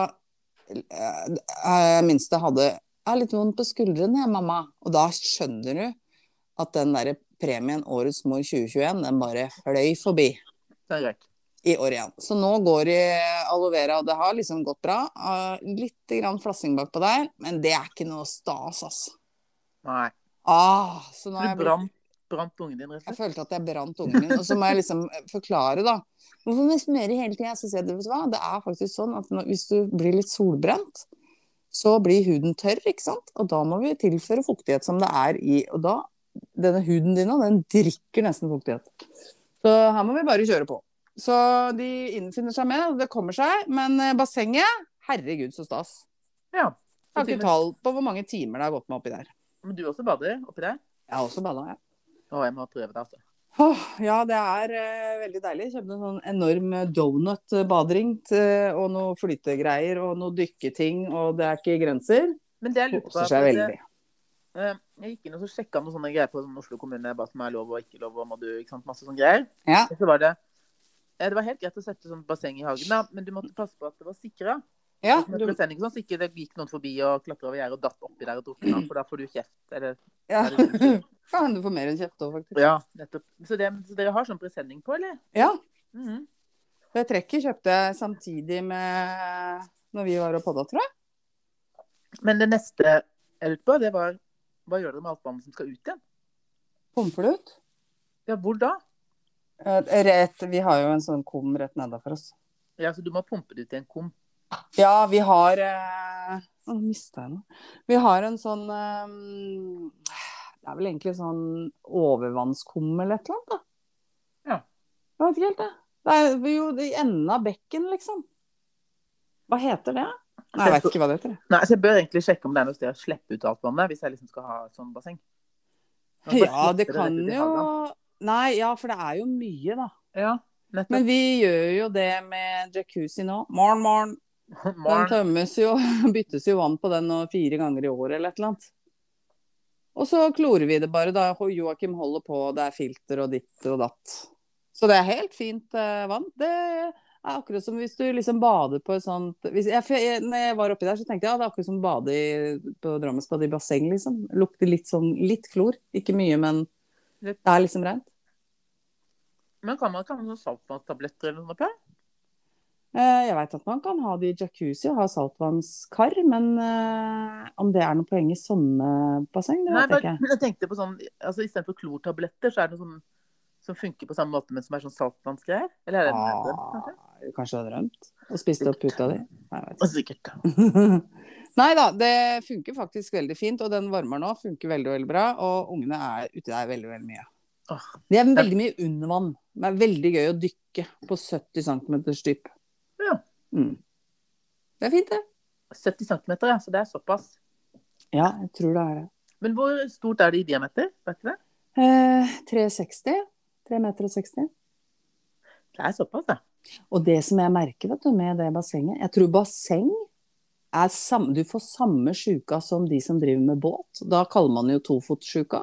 Speaker 1: eh, eh, Minste hadde Jeg har litt vondt på skuldrene, jeg, mamma. Og da skjønner du at den derre premien Årets mor 2021, den bare fløy forbi
Speaker 2: Det er greit.
Speaker 1: i år igjen. Så nå går det aloe vera, og det har liksom gått bra. Eh, Litt grann flassing bakpå der, men det er ikke noe stas, altså.
Speaker 2: Nei.
Speaker 1: Ah, så nå
Speaker 2: Så
Speaker 1: er
Speaker 2: du
Speaker 1: jeg blitt
Speaker 2: brant, brant ungen din, rett og
Speaker 1: jeg
Speaker 2: slett?
Speaker 1: følte at jeg brant ungen min. Og så må jeg liksom forklare, da. Hvorfor må jeg smøre hele tida? Så sier jeg vet du hva, det er faktisk sånn at når, hvis du blir litt solbrent, så blir huden tørr, ikke sant? Og da må vi tilføre fuktighet som det er i Og da Denne huden din, da, den drikker nesten fuktighet. Så her må vi bare kjøre på. Så de innfinner seg med, og det kommer seg. Men eh, bassenget, herregud så stas.
Speaker 2: Ja.
Speaker 1: Jeg har ikke tall på hvor mange timer det har gått med oppi der.
Speaker 2: Men du også bader oppi der?
Speaker 1: Jeg har også bada, jeg.
Speaker 2: Å, jeg må prøve det, altså.
Speaker 1: Åh, ja, det er eh, veldig deilig. Kjøpte en sånn enorm donut-badering til- og noe flytegreier og noe dykketing, og det er ikke grenser.
Speaker 2: Men det jeg lurte på
Speaker 1: Koser
Speaker 2: at
Speaker 1: seg
Speaker 2: det-
Speaker 1: veldig.
Speaker 2: Eh, Jeg gikk inn og så sjekka noen sånne greier på sånn Oslo kommune, hva som er lov og ikke lov, og må du, ikke sant, masse sånne greier.
Speaker 1: Ja.
Speaker 2: Og Så var det, eh, det var helt greit å sette sånn basseng i hagen, da, men du måtte passe på at det var sikra.
Speaker 1: Ja,
Speaker 2: Med
Speaker 1: du,
Speaker 2: presenning og sånn, så ikke det gikk noen forbi og klatra over gjerdet og datt oppi der og drukna, for da får du kjeft. Eller,
Speaker 1: ja. Faen, du får mer enn kjeft òg, faktisk.
Speaker 2: ja, nettopp. Så, det, så dere har sånn presenning på, eller?
Speaker 1: Ja.
Speaker 2: Mhm.
Speaker 1: Det trekket kjøpte jeg samtidig med når vi var og podda, tror jeg.
Speaker 2: Men det neste jeg lurte på, det var hva gjør dere med alt vannet som skal ut igjen?
Speaker 1: Pomflut.
Speaker 2: Ja, hvor da?
Speaker 1: Eh, Rett, vi har jo en sånn kum rett nedafor oss.
Speaker 2: Ja, så du må pumpe det ut i en kum.
Speaker 1: Ja, vi har eh, Å, nå mista jeg noe. Vi har en sånn eh, Det er vel egentlig sånn overvannskum eller et eller annet, da.
Speaker 2: Ja.
Speaker 1: Jeg vet ikke helt, det. Det er jo i enden av bekken, liksom. Hva heter det? Nei, jeg vet ikke hva det heter. jeg.
Speaker 2: Nei, så jeg bør egentlig sjekke om det er noe sted å slippe ut alt vannet, hvis jeg liksom skal ha sånn basseng. Man bare
Speaker 1: Ja, det
Speaker 2: slipper
Speaker 1: kan
Speaker 2: rett ut i
Speaker 1: jo
Speaker 2: hagen.
Speaker 1: Nei, ja, for det er jo mye, da.
Speaker 2: Ja, nettopp.
Speaker 1: Men vi gjør jo det med jacuzzi nå. Morgen, morgen. Den
Speaker 2: Morgen.
Speaker 1: tømmes jo, byttes jo vann på den nå fire ganger i året eller et eller annet. Og så klorer vi det bare da og Joakim holder på, det er filter og ditt og datt. Så det er helt fint eh, vann. Det er akkurat som hvis du liksom bader på et sånt hvis jeg, for jeg, Når jeg var oppi der, så tenkte jeg ja, det er akkurat som å bade i- på Drammensbadet i basseng, liksom. Lukter litt sånn litt klor. Ikke mye, men det
Speaker 2: Litt.
Speaker 1: er liksom rent.
Speaker 2: Men kan man ikke ha noen sånne saltvannstabletter eller noe oppi her?
Speaker 1: Eh, Jeg veit at man kan ha det i jacuzzi og ha saltvannskar, men eh, om det er noe poeng i sånne basseng, det vet
Speaker 2: Nei,
Speaker 1: jeg
Speaker 2: bare,
Speaker 1: ikke.
Speaker 2: jeg tenkte på sånn, altså Istedenfor klortabletter, så er det noe sånn som funker på samme måte, men som er sånn saltvannsgreier? Eller er det en nødvendig, kanskje?
Speaker 1: Ah, kanskje du har drømt? Og spist opp puta di? Nei, jeg vet
Speaker 2: Og Sikkert.
Speaker 1: ikke. Nei da, det funker faktisk veldig fint. Og den varmer nå funker veldig veldig bra. Og ungene er ute der veldig veldig mye.
Speaker 2: Åh.
Speaker 1: De er veldig mye under vann. Det er veldig gøy å dykke på 70 cm dyp.
Speaker 2: Ja.
Speaker 1: Mm. Det er fint, det.
Speaker 2: 70 cm, ja. Så det er såpass.
Speaker 1: Ja, jeg tror det er det.
Speaker 2: Men hvor stort er det i diameter? Vet du det?
Speaker 1: Eh, 360. 3 meter og 60.
Speaker 2: Det er såpass, ja.
Speaker 1: Og det som jeg merker vet du, med det bassenget Jeg tror basseng er samme, Du får samme sjuka som de som driver med båt. Da kaller man det jo tofotsjuka.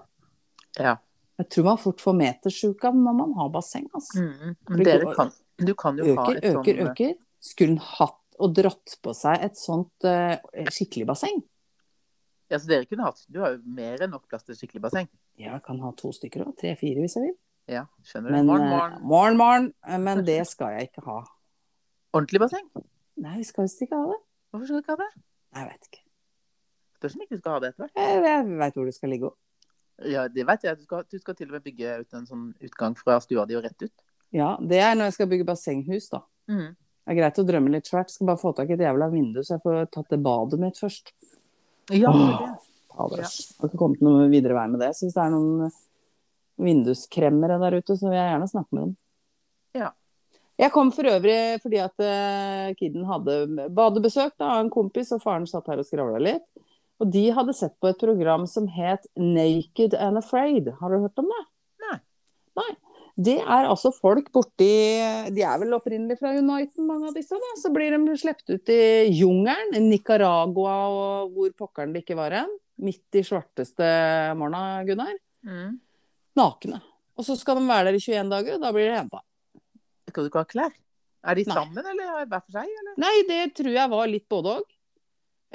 Speaker 2: ja.
Speaker 1: Jeg tror man fort får metersjuka når man har basseng. Altså.
Speaker 2: Mm. Men dere kan, Mm, Du kan jo ha
Speaker 1: Øker,
Speaker 2: et
Speaker 1: øker,
Speaker 2: sånn
Speaker 1: øker. Skulle hun hatt og dratt på seg et sånt eh, skikkelig basseng?
Speaker 2: Ja, så dere kunne hatt Du har jo mer enn nok plass til et skikkelig basseng.
Speaker 1: Ja, jeg kan ha to stykker òg. Tre-fire hvis jeg vil.
Speaker 2: Ja, skjønner du.
Speaker 1: Men,
Speaker 2: morgen,
Speaker 1: eh,
Speaker 2: morgen.
Speaker 1: morgen, morgen. Eh, Men det skal jeg ikke ha.
Speaker 2: Ordentlig basseng?
Speaker 1: Nei, vi skal visst ikke ha det.
Speaker 2: Hvorfor skal du ikke ha det?
Speaker 1: Nei, jeg vet ikke.
Speaker 2: Spørs om ikke du skal ha det etter hvert.
Speaker 1: Jeg, jeg veit hvor det skal ligge òg.
Speaker 2: Ja, det vet jeg. Du skal, du skal til og med bygge ut en sånn utgang fra stua di og rett ut.
Speaker 1: Ja, det er når jeg skal bygge bassenghus, da.
Speaker 2: Mhm.
Speaker 1: Det er greit å drømme litt svært. Skal bare få tak i et jævla vindu, så jeg får tatt det badet mitt først.
Speaker 2: Ja,
Speaker 1: Åh,
Speaker 2: det.
Speaker 1: Fader,
Speaker 2: Ja.
Speaker 1: ass. Jeg har ikke kommet noe videre vei med det. Så hvis det er noen eh, vinduskremmere der ute, så vil jeg gjerne snakke med dem.
Speaker 2: Ja.
Speaker 1: Jeg kom for øvrig fordi at eh, kiden hadde badebesøk da, av en kompis, og faren satt her og skravla litt. Og de hadde sett på et program som het Naked and Afraid. Har du hørt om det?
Speaker 2: Nei.
Speaker 1: Nei. Det er altså folk borti De er vel opprinnelig fra Uniten, mange av disse. da, Så blir de sluppet ut i jungelen, i Nicaragua og hvor pokkeren det ikke var hen. Midt i svarteste morgena, Gunnar. Mm.
Speaker 2: Mhm.
Speaker 1: Nakne. Og så skal de være der i 21 dager, og da blir de henta.
Speaker 2: Skal du ikke ha klær? Er de
Speaker 1: Nei.
Speaker 2: sammen, eller hver for seg? Eller?
Speaker 1: Nei, det tror jeg var litt både òg.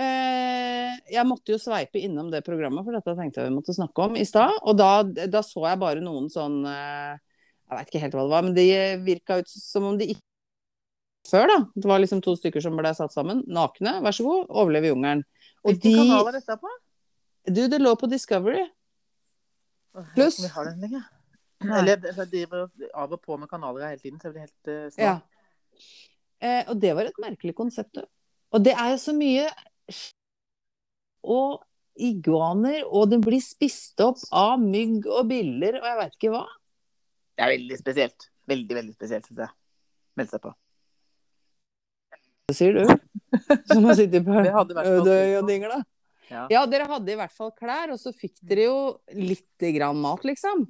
Speaker 1: Eh, jeg måtte jo sveipe innom det programmet, for dette tenkte jeg vi måtte snakke om i stad. Og da, da så jeg bare noen sånn eh, Jeg veit ikke helt hva det var, men det virka ut som om de ikke Før, da. Det var liksom to stykker som ble satt sammen. Nakne. Vær så god, overleve jungelen. Og
Speaker 2: Hvilken
Speaker 1: de
Speaker 2: kanal er dette på?
Speaker 1: Du, det lå på Discovery.
Speaker 2: Åh, jeg vet ikke om
Speaker 1: Pluss.
Speaker 2: Vi har den lenger.
Speaker 1: Nei.
Speaker 2: Eller jeg driver av og på med kanaler hele tiden, så jeg blir helt eh, snart.
Speaker 1: Ja. Eh, og det var et merkelig konsept. du. Og det er jo så mye sk- og iguaner, og den blir spist opp av mygg og biller og jeg veit ikke hva.
Speaker 2: Det er veldig spesielt. Veldig, veldig spesielt, syns jeg. Meld seg på.
Speaker 1: Det sier du. Som har sittet på
Speaker 2: Det hadde vært
Speaker 1: Ødøy
Speaker 2: noe.
Speaker 1: og dingla.
Speaker 2: Ja.
Speaker 1: Ja, dere hadde i hvert fall klær, og så fikk dere jo lite grann mat, liksom.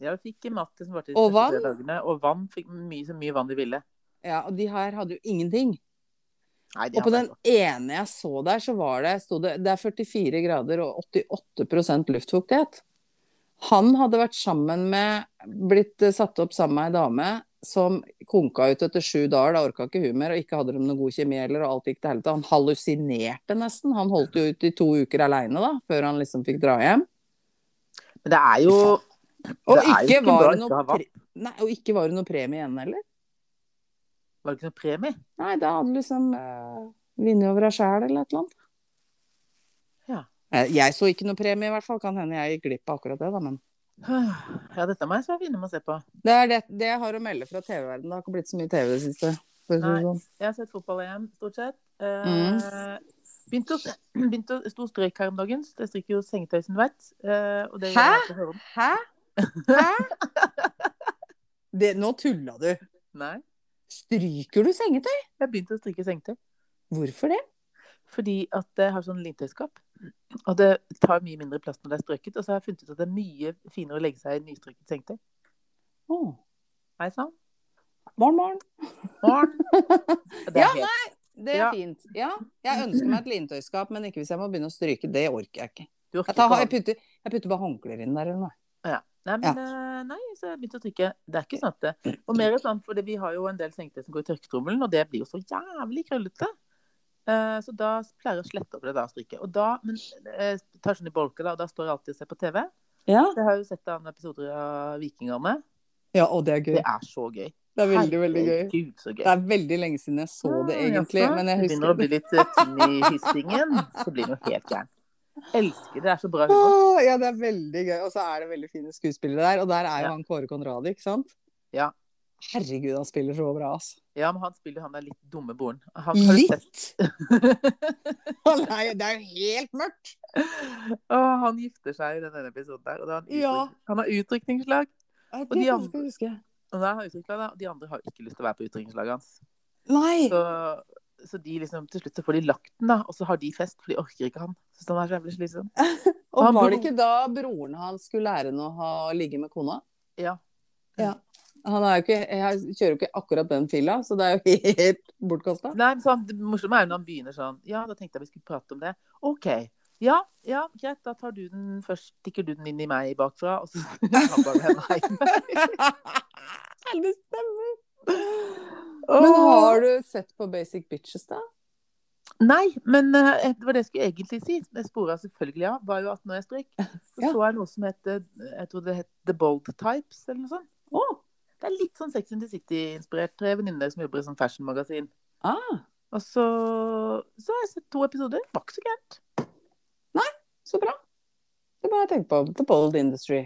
Speaker 2: Jeg fikk mat til som varte de
Speaker 1: Og
Speaker 2: første tre dagene. Og vann. Fikk mye, så mye vann de ville.
Speaker 1: Ja, og de her hadde jo ingenting.
Speaker 2: Nei, det
Speaker 1: Og på
Speaker 2: hadde
Speaker 1: den
Speaker 2: jeg
Speaker 1: ene jeg så der, så var det, sto det Det er 44 grader og 88 luftfuktighet. Han hadde vært sammen med Blitt eh, satt opp sammen med ei dame som konka ut etter sju dager. Da orka ikke hun mer, og ikke hadde de noe god kjemi heller, og alt gikk til helvete. Han hallusinerte nesten. Han holdt jo ut i to uker aleine, da, før han liksom fikk dra hjem.
Speaker 2: ikke. Men det er jo
Speaker 1: Og
Speaker 2: Det er jo
Speaker 1: ikke
Speaker 2: ikke bra
Speaker 1: var
Speaker 2: å
Speaker 1: det
Speaker 2: ikke
Speaker 1: noe
Speaker 2: ha vann.
Speaker 1: pre... Nei, og ikke var det noe premie igjen heller.
Speaker 2: Var det ikke noe premie?
Speaker 1: Nei, da hadde du liksom uh, vunnet over deg sjæl eller et eller annet.
Speaker 2: Ja.
Speaker 1: Eh, Jeg så ikke noe premie, i hvert fall. Kan hende jeg gikk glipp av akkurat det, da, men
Speaker 2: Ja, dette må jeg så begynne med å se på.
Speaker 1: Det er det, det jeg har å melde fra TV-verdenen. Det har ikke blitt så mye TV det siste. for å si det
Speaker 2: Nei.
Speaker 1: sånn.
Speaker 2: Jeg har sett fotball-EM, stort sett. Eh,
Speaker 1: Mm.
Speaker 2: Begynte å, begynte å stå strøyk her om dagen. så Jeg stryker jo sengetøy, som du vet. Eh, og det gjør
Speaker 1: Hæ?
Speaker 2: jeg alltid å høre om.
Speaker 1: Hæ? Hæ? Det, nå tulla du.
Speaker 2: Nei.
Speaker 1: Stryker du sengetøy?
Speaker 2: Jeg begynte å stryke sengetøy.
Speaker 1: Hvorfor det?
Speaker 2: Fordi at jeg har sånn lintøyskap. Og det tar mye mindre plass når det er strøket. Og så har jeg funnet ut at det er mye finere å legge seg i nystrøket sengetøy.
Speaker 1: Å,
Speaker 2: Hei sann.
Speaker 1: Morgen, morgen.
Speaker 2: Morgen. Og Det
Speaker 1: Ja,
Speaker 2: er helt,
Speaker 1: Det er
Speaker 2: Ja.
Speaker 1: fint. Ja, jeg ønsker meg et lintøyskap, men ikke hvis jeg må begynne å stryke. Det orker jeg ikke.
Speaker 2: du orker
Speaker 1: Jeg, tar,
Speaker 2: ikke å ha
Speaker 1: jeg, putter, jeg putter bare håndklær inn der eller noe.
Speaker 2: Nei, men eh, nei, så jeg begynte å trykke. Det er ikke sant, det. Og mer sånn, for vi har jo en del sengetøy som går i tørketrommelen, og det blir jo så jævlig krøllete. Eh, Så da pleier jeg å slette opp det der strykket. Og da, men jeg tar sånn i bolker, da, og da står jeg alltid og ser på TV.
Speaker 1: Ja.
Speaker 2: Så Jeg har jo sett en episode av Vikingene.
Speaker 1: ja, og det er gøy.
Speaker 2: Det er så gøy.
Speaker 1: Det er veldig, veldig gøy.
Speaker 2: Herregud, så gøy.
Speaker 1: Det er veldig lenge siden jeg så det,
Speaker 2: Ja,
Speaker 1: egentlig.
Speaker 2: jaså.
Speaker 1: Men jeg
Speaker 2: Det Begynner
Speaker 1: husker
Speaker 2: å
Speaker 1: det.
Speaker 2: bli litt eh, tynn i hyssingen, så blir den jo helt gæren. Elsker det. Det er så bra humor.
Speaker 1: Åh, ja, det er veldig gøy. Og så er det veldig fine skuespillere der. Og der er jo
Speaker 2: Ja.
Speaker 1: han Kåre Conradi, ikke sant?
Speaker 2: Ja.
Speaker 1: Herregud, han spiller så bra, altså.
Speaker 2: Ja, men han spiller jo han der litt dumme broren. Han, har du sett-
Speaker 1: Litt! Han er, jo- det er jo helt mørkt!
Speaker 2: Åh, han gifter seg i den ene episoden der. Og da har han, utrykning-
Speaker 1: Ja.
Speaker 2: han har utrykningslag.
Speaker 1: Nei,
Speaker 2: de
Speaker 1: Det
Speaker 2: andre-
Speaker 1: skal jeg huske.
Speaker 2: Og da har han utrykningslag, da, og de andre har ikke lyst til å være på utrykningslaget hans.
Speaker 1: Nei!
Speaker 2: Så, så de liksom, til slutt så får de lagt den, da. Og så har de fest, for de orker ikke han. Så han er så jævlig slitsom.
Speaker 1: Og
Speaker 2: han
Speaker 1: var
Speaker 2: bor-
Speaker 1: det ikke da broren hans skulle lære henne å ha, ligge med kona?
Speaker 2: Ja.
Speaker 1: Ja. Han er jo ikke, jeg kjører jo ikke akkurat den filla, så det er jo helt bortkasta.
Speaker 2: Nei, men så han, det morsomme er jo når han begynner sånn Ja, da tenkte jeg vi skulle prate om det. OK. Ja, ja, greit. Da tar du den først. Stikker du den inn i meg bakfra, og så han bare, nei.
Speaker 1: det stemmer! Men har du sett på Basic Bitches, da?
Speaker 2: Nei, men eh, det var det jeg skulle egentlig si. Jeg spora selvfølgelig av, var jo 18 år jeg strøyk. Så
Speaker 1: Ja.
Speaker 2: så jeg noe som het eh, Jeg tror det het The Bold Types, eller noe sånt.
Speaker 1: Å.
Speaker 2: Det er litt sånn Sex and the City-inspirert. Tre venninner som jobber i sånn fashionmagasin.
Speaker 1: Ah,
Speaker 2: Og så, så har jeg sett to episoder. Det var ikke så gærent.
Speaker 1: så bra. Det er bare å tenke på. The Bold Industry.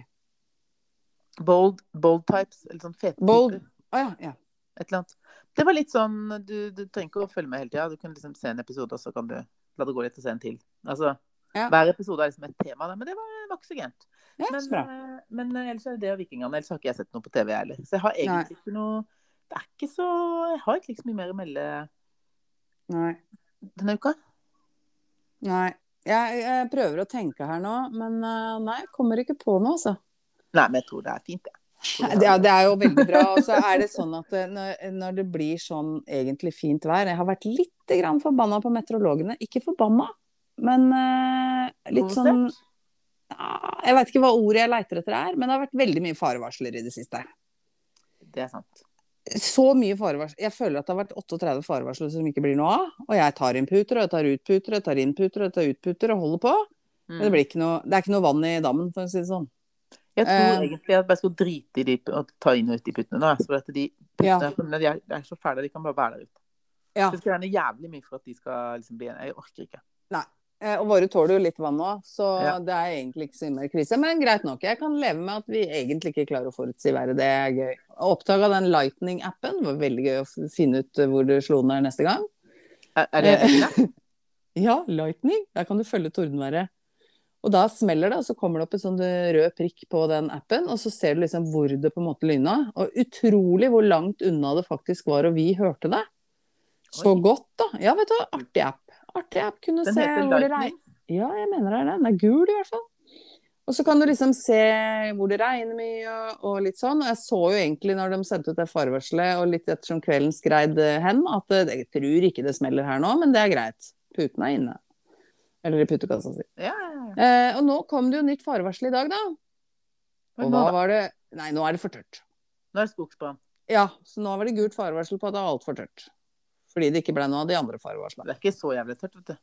Speaker 2: Bold, bold types, eller sånn fete
Speaker 1: Bold.
Speaker 2: typer.
Speaker 1: Å ja. ja.
Speaker 2: Et eller annet. Det var litt sånn Du, du trenger ikke å følge med hele tida. Du kan liksom se en episode, og så kan du la det gå litt og se en til. Altså,
Speaker 1: Ja.
Speaker 2: Hver episode er liksom et tema, da. Men det var, var ikke så gærent.
Speaker 1: ja
Speaker 2: Men,
Speaker 1: så bra.
Speaker 2: eh, men eh, ellers er det det og Vikingene. Ellers har ikke jeg sett noe på TV, jeg heller. Så jeg har egentlig ikke noe Det er ikke så Jeg har ikke liksom mye mer å melde
Speaker 1: Nei.
Speaker 2: denne uka.
Speaker 1: Nei. Jeg, jeg prøver å tenke her nå, men eh, nei, jeg kommer ikke på noe, altså.
Speaker 2: Nei, men jeg tror det er fint, jeg.
Speaker 1: Nei, Det, er- det er jo veldig bra. Og så er det sånn at eh, når, når det blir sånn egentlig fint vær Jeg har vært litt grann forbanna på meteorologene. Ikke forbanna, men eh, litt sånn
Speaker 2: Provosert?
Speaker 1: ja, Jeg veit ikke hva ordet jeg leiter etter er, men det har vært veldig mye farevarsler i det siste.
Speaker 2: Det er sant.
Speaker 1: Så mye farevarsler. Jeg føler at det har vært 38 farevarsler som ikke blir noe av. Og jeg tar inn puter, og jeg tar ut puter, og jeg tar inn puter, og jeg tar ut puter, og holder på. Men det, blir ikke noe, det er ikke noe vann i dammen, for å si det sånn.
Speaker 2: Mm. Jeg tror
Speaker 1: Eh,
Speaker 2: egentlig at jeg bare skal drite i de og ta inn og ut de puttene nå. jeg. For at de
Speaker 1: Ja.
Speaker 2: puttene for de er, de er så fæle, de kan bare være der ute.
Speaker 1: Ja.
Speaker 2: Så Det skal gjerne jævlig mye for at de skal liksom bli igjen. Jeg orker ikke.
Speaker 1: Eh, Og våre tåler jo litt vann òg, så
Speaker 2: Ja.
Speaker 1: det er egentlig ikke så innmari krise. Men greit nok. Jeg kan leve med at vi egentlig ikke klarer å forutsi været. Det er gøy. Oppdaga den Lightning-appen. Det var veldig gøy å f- finne ut eh, hvor du slo ned neste gang.
Speaker 2: Er, er det
Speaker 1: Eh, Ja, Lightning. Der kan du følge tordenværet. Og da smeller det, og så kommer det opp en sånn eh, rød prikk på den appen, og så ser du liksom hvor det på en måte lyna. Og utrolig hvor langt unna det faktisk var, og vi hørte det. Så
Speaker 2: Oi.
Speaker 1: godt, da. Ja, vet du, artig app. Artig app. Kunne
Speaker 2: Den
Speaker 1: se
Speaker 2: heter
Speaker 1: hvor det regner.
Speaker 2: Lightning.
Speaker 1: Ja, jeg mener det er den. Den er gul, i hvert fall. Og så kan du liksom se hvor det regner mye og- og litt sånn. Og jeg så jo egentlig når de sendte ut det farevarselet og litt ettersom kvelden skreid eh, hen, at eh, jeg tror ikke det smeller her nå, men det er greit. Puten er inne. Eller i putekassa si.
Speaker 2: Ja, ja, ja.
Speaker 1: Eh, og nå kom det jo nytt farevarsel i dag, da. Og
Speaker 2: Men nå,
Speaker 1: da
Speaker 2: da?
Speaker 1: var det Nei, nå er det for tørt.
Speaker 2: nå er det skogsbrann.
Speaker 1: Ja, så nå var det gult farevarsel på at det er altfor tørt. Fordi det ikke ble noe av de andre farevarslene.
Speaker 2: Det er ikke så jævlig tørt, vet du.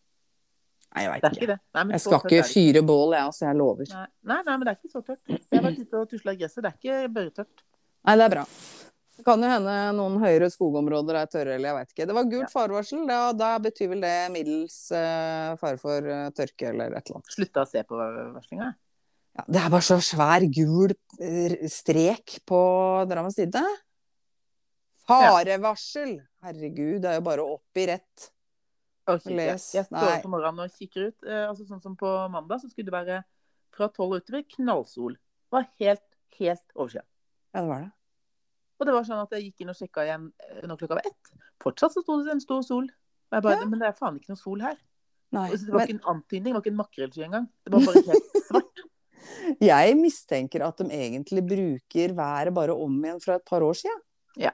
Speaker 1: Nei, jeg
Speaker 2: Det
Speaker 1: veit
Speaker 2: er
Speaker 1: ikke.
Speaker 2: ikke det. Nei, men
Speaker 1: Jeg
Speaker 2: så
Speaker 1: skal
Speaker 2: tørt
Speaker 1: ikke
Speaker 2: er det
Speaker 1: fyre bål, jeg, altså. Jeg lover.
Speaker 2: Nei, nei, nei, men det er ikke så tørt. Jeg har vært ute og tusla i gresset. Det er ikke børretørt.
Speaker 1: Nei, det er bra. Det kan jo hende noen høyere skogområder er tørre, eller jeg veit ikke. Det var gult farevarsel, da, da betyr vel det middels eh, fare for eh, tørke eller et eller annet.
Speaker 2: Slutta å se på varslinga. jeg.
Speaker 1: Ja, det er bare så svær gul eh, strek på Drammens Tidende. Farevarsel! Herregud, det er jo bare opp i rett.
Speaker 2: Orker ikke.
Speaker 1: Les.
Speaker 2: Jeg står
Speaker 1: Nei.
Speaker 2: opp om morgenen og kikker ut. eh, Altså Sånn som på mandag, så skulle det være fra tolv utover knallsol. Det var helt, helt overskya.
Speaker 1: Ja, det var det.
Speaker 2: Og det var sånn at jeg gikk inn og sjekka igjen eh, når klokka var ett. Fortsatt så sto det en stor sol. Og jeg bare, Men det er faen ikke noe sol her.
Speaker 1: Nei,
Speaker 2: Og så Det var
Speaker 1: men
Speaker 2: ikke en antydning, det var ikke en makrellsky engang. Det var bare helt svart.
Speaker 1: jeg mistenker at de egentlig bruker været bare om igjen fra et par år siden.
Speaker 2: Ja.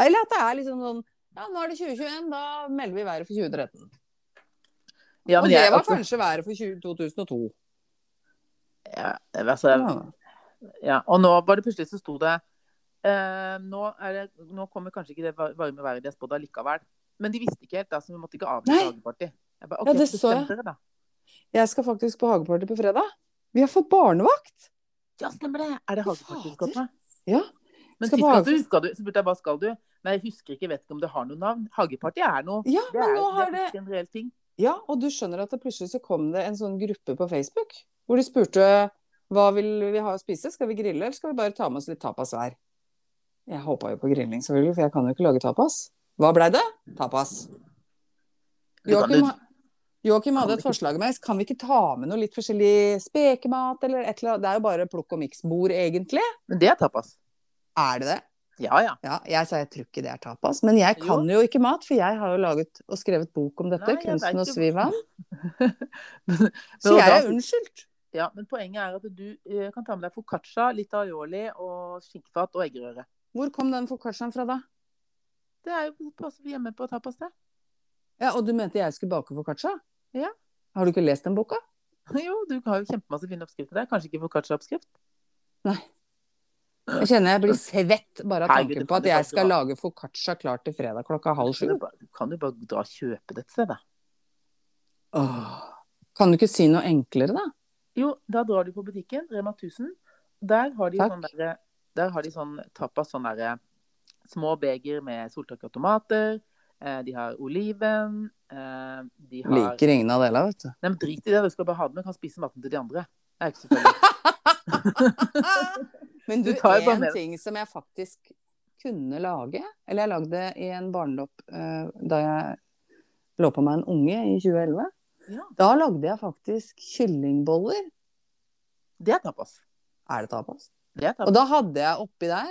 Speaker 1: Eller at det er liksom sånn Ja, nå er det 2021, da melder vi været for 2013.
Speaker 2: Ja, men
Speaker 1: og det
Speaker 2: jeg,
Speaker 1: var
Speaker 2: altså,
Speaker 1: kanskje været for 20 2002.
Speaker 2: ja, altså, Ja, og nå var det plutselig så sto det eh, nå, er det nå kommer kanskje ikke det var- varme været de har spådd allikevel. Men de visste ikke helt, da, så vi måtte ikke avlyse
Speaker 1: Nei.
Speaker 2: hageparty. Jeg bare,
Speaker 1: Ja,
Speaker 2: ok,
Speaker 1: det
Speaker 2: så
Speaker 1: så jeg.
Speaker 2: bestem dere, da.
Speaker 1: Jeg skal faktisk på hageparty på fredag. Vi har fått barnevakt!
Speaker 2: Ja, stemmer det! Er det
Speaker 1: Fy
Speaker 2: hageparty du skal
Speaker 1: fader.
Speaker 2: på?
Speaker 1: Ja.
Speaker 2: Men
Speaker 1: Skal
Speaker 2: sist
Speaker 1: på
Speaker 2: gang
Speaker 1: hagefest.
Speaker 2: så huska du, så spurte jeg bare skal du. Nei, jeg husker ikke, vet ikke om det har noe navn. Hageparty er noe.
Speaker 1: Ja,
Speaker 2: Det
Speaker 1: men
Speaker 2: er,
Speaker 1: nå har
Speaker 2: det
Speaker 1: det
Speaker 2: er ikke en reell ting.
Speaker 1: Ja, og du skjønner at det plutselig så kom det en sånn gruppe på Facebook hvor de spurte hva vil vi ha å spise, skal vi grille eller skal vi bare ta med oss litt tapas hver? Jeg håpa jo på grilling selvfølgelig, for jeg kan jo ikke lage tapas. Hva blei det? Tapas.
Speaker 2: Du kan
Speaker 1: Joakim,
Speaker 2: jo-
Speaker 1: ha- Joakim hadde
Speaker 2: Kan
Speaker 1: et
Speaker 2: vi ikke-
Speaker 1: forslag med kan vi ikke ta med noe litt forskjellig spekemat eller et eller annet. Det er jo bare plukk og miks-bord, egentlig.
Speaker 2: Men det er tapas.
Speaker 1: Er det det?
Speaker 2: Ja, ja.
Speaker 1: Ja, jeg sa jeg tror ikke det er tapas, men jeg kan jo ikke mat, for jeg har jo laget og skrevet bok om dette,
Speaker 2: Nei, jeg vet
Speaker 1: Kunsten og
Speaker 2: jo.
Speaker 1: svivann.
Speaker 2: Men
Speaker 1: Så jeg
Speaker 2: da-
Speaker 1: er unnskyldt.
Speaker 2: ja. Men poenget er at du eh, kan ta med deg foccaccia, litt aioli og skinkefat og eggerøre.
Speaker 1: Hvor kom den foccacciaen fra da?
Speaker 2: Det er jo passer hjemme på tapas, det.
Speaker 1: Ja, og du mente jeg skulle bake foccaccia?
Speaker 2: Ja.
Speaker 1: Har du ikke lest den boka?
Speaker 2: Jo, du har jo kjempemasse fine oppskrifter der. Kanskje ikke foccaccia-oppskrift?
Speaker 1: Jeg kjenner jeg blir svett bare av
Speaker 2: Herregud,
Speaker 1: tanken på
Speaker 2: det kan
Speaker 1: at
Speaker 2: du
Speaker 1: jeg
Speaker 2: faktisk
Speaker 1: skal
Speaker 2: ha.
Speaker 1: lage foccaccia klar til fredag klokka halv sju.
Speaker 2: Kan du bare, kan du bare dra og kjøpe det et sted, da?
Speaker 1: Åh. Kan du ikke si noe enklere, da?
Speaker 2: Jo, da drar du på butikken, Rema 1000. Der har de
Speaker 1: Takk.
Speaker 2: sånn derre- der har de sånn tapas, sånn derre små beger med soltørka tomater. eh, De har oliven. eh, De har
Speaker 1: Liker ingen av delene, vet du.
Speaker 2: Nei, men drit i det, du skal bare ha det med. Du Kan spise maten til de andre. Det er ikke så farlig.
Speaker 1: Men du,
Speaker 2: Du tar jo bare
Speaker 1: en
Speaker 2: med deg-
Speaker 1: ting som jeg faktisk kunne lage, eller jeg lagde det i en barndopp eh, da jeg lå på meg en unge i 2011,
Speaker 2: Ja,
Speaker 1: da lagde jeg faktisk kyllingboller.
Speaker 2: det er tapas.
Speaker 1: Er det tapas?
Speaker 2: Det er
Speaker 1: Og
Speaker 2: tapas.
Speaker 1: da hadde jeg oppi der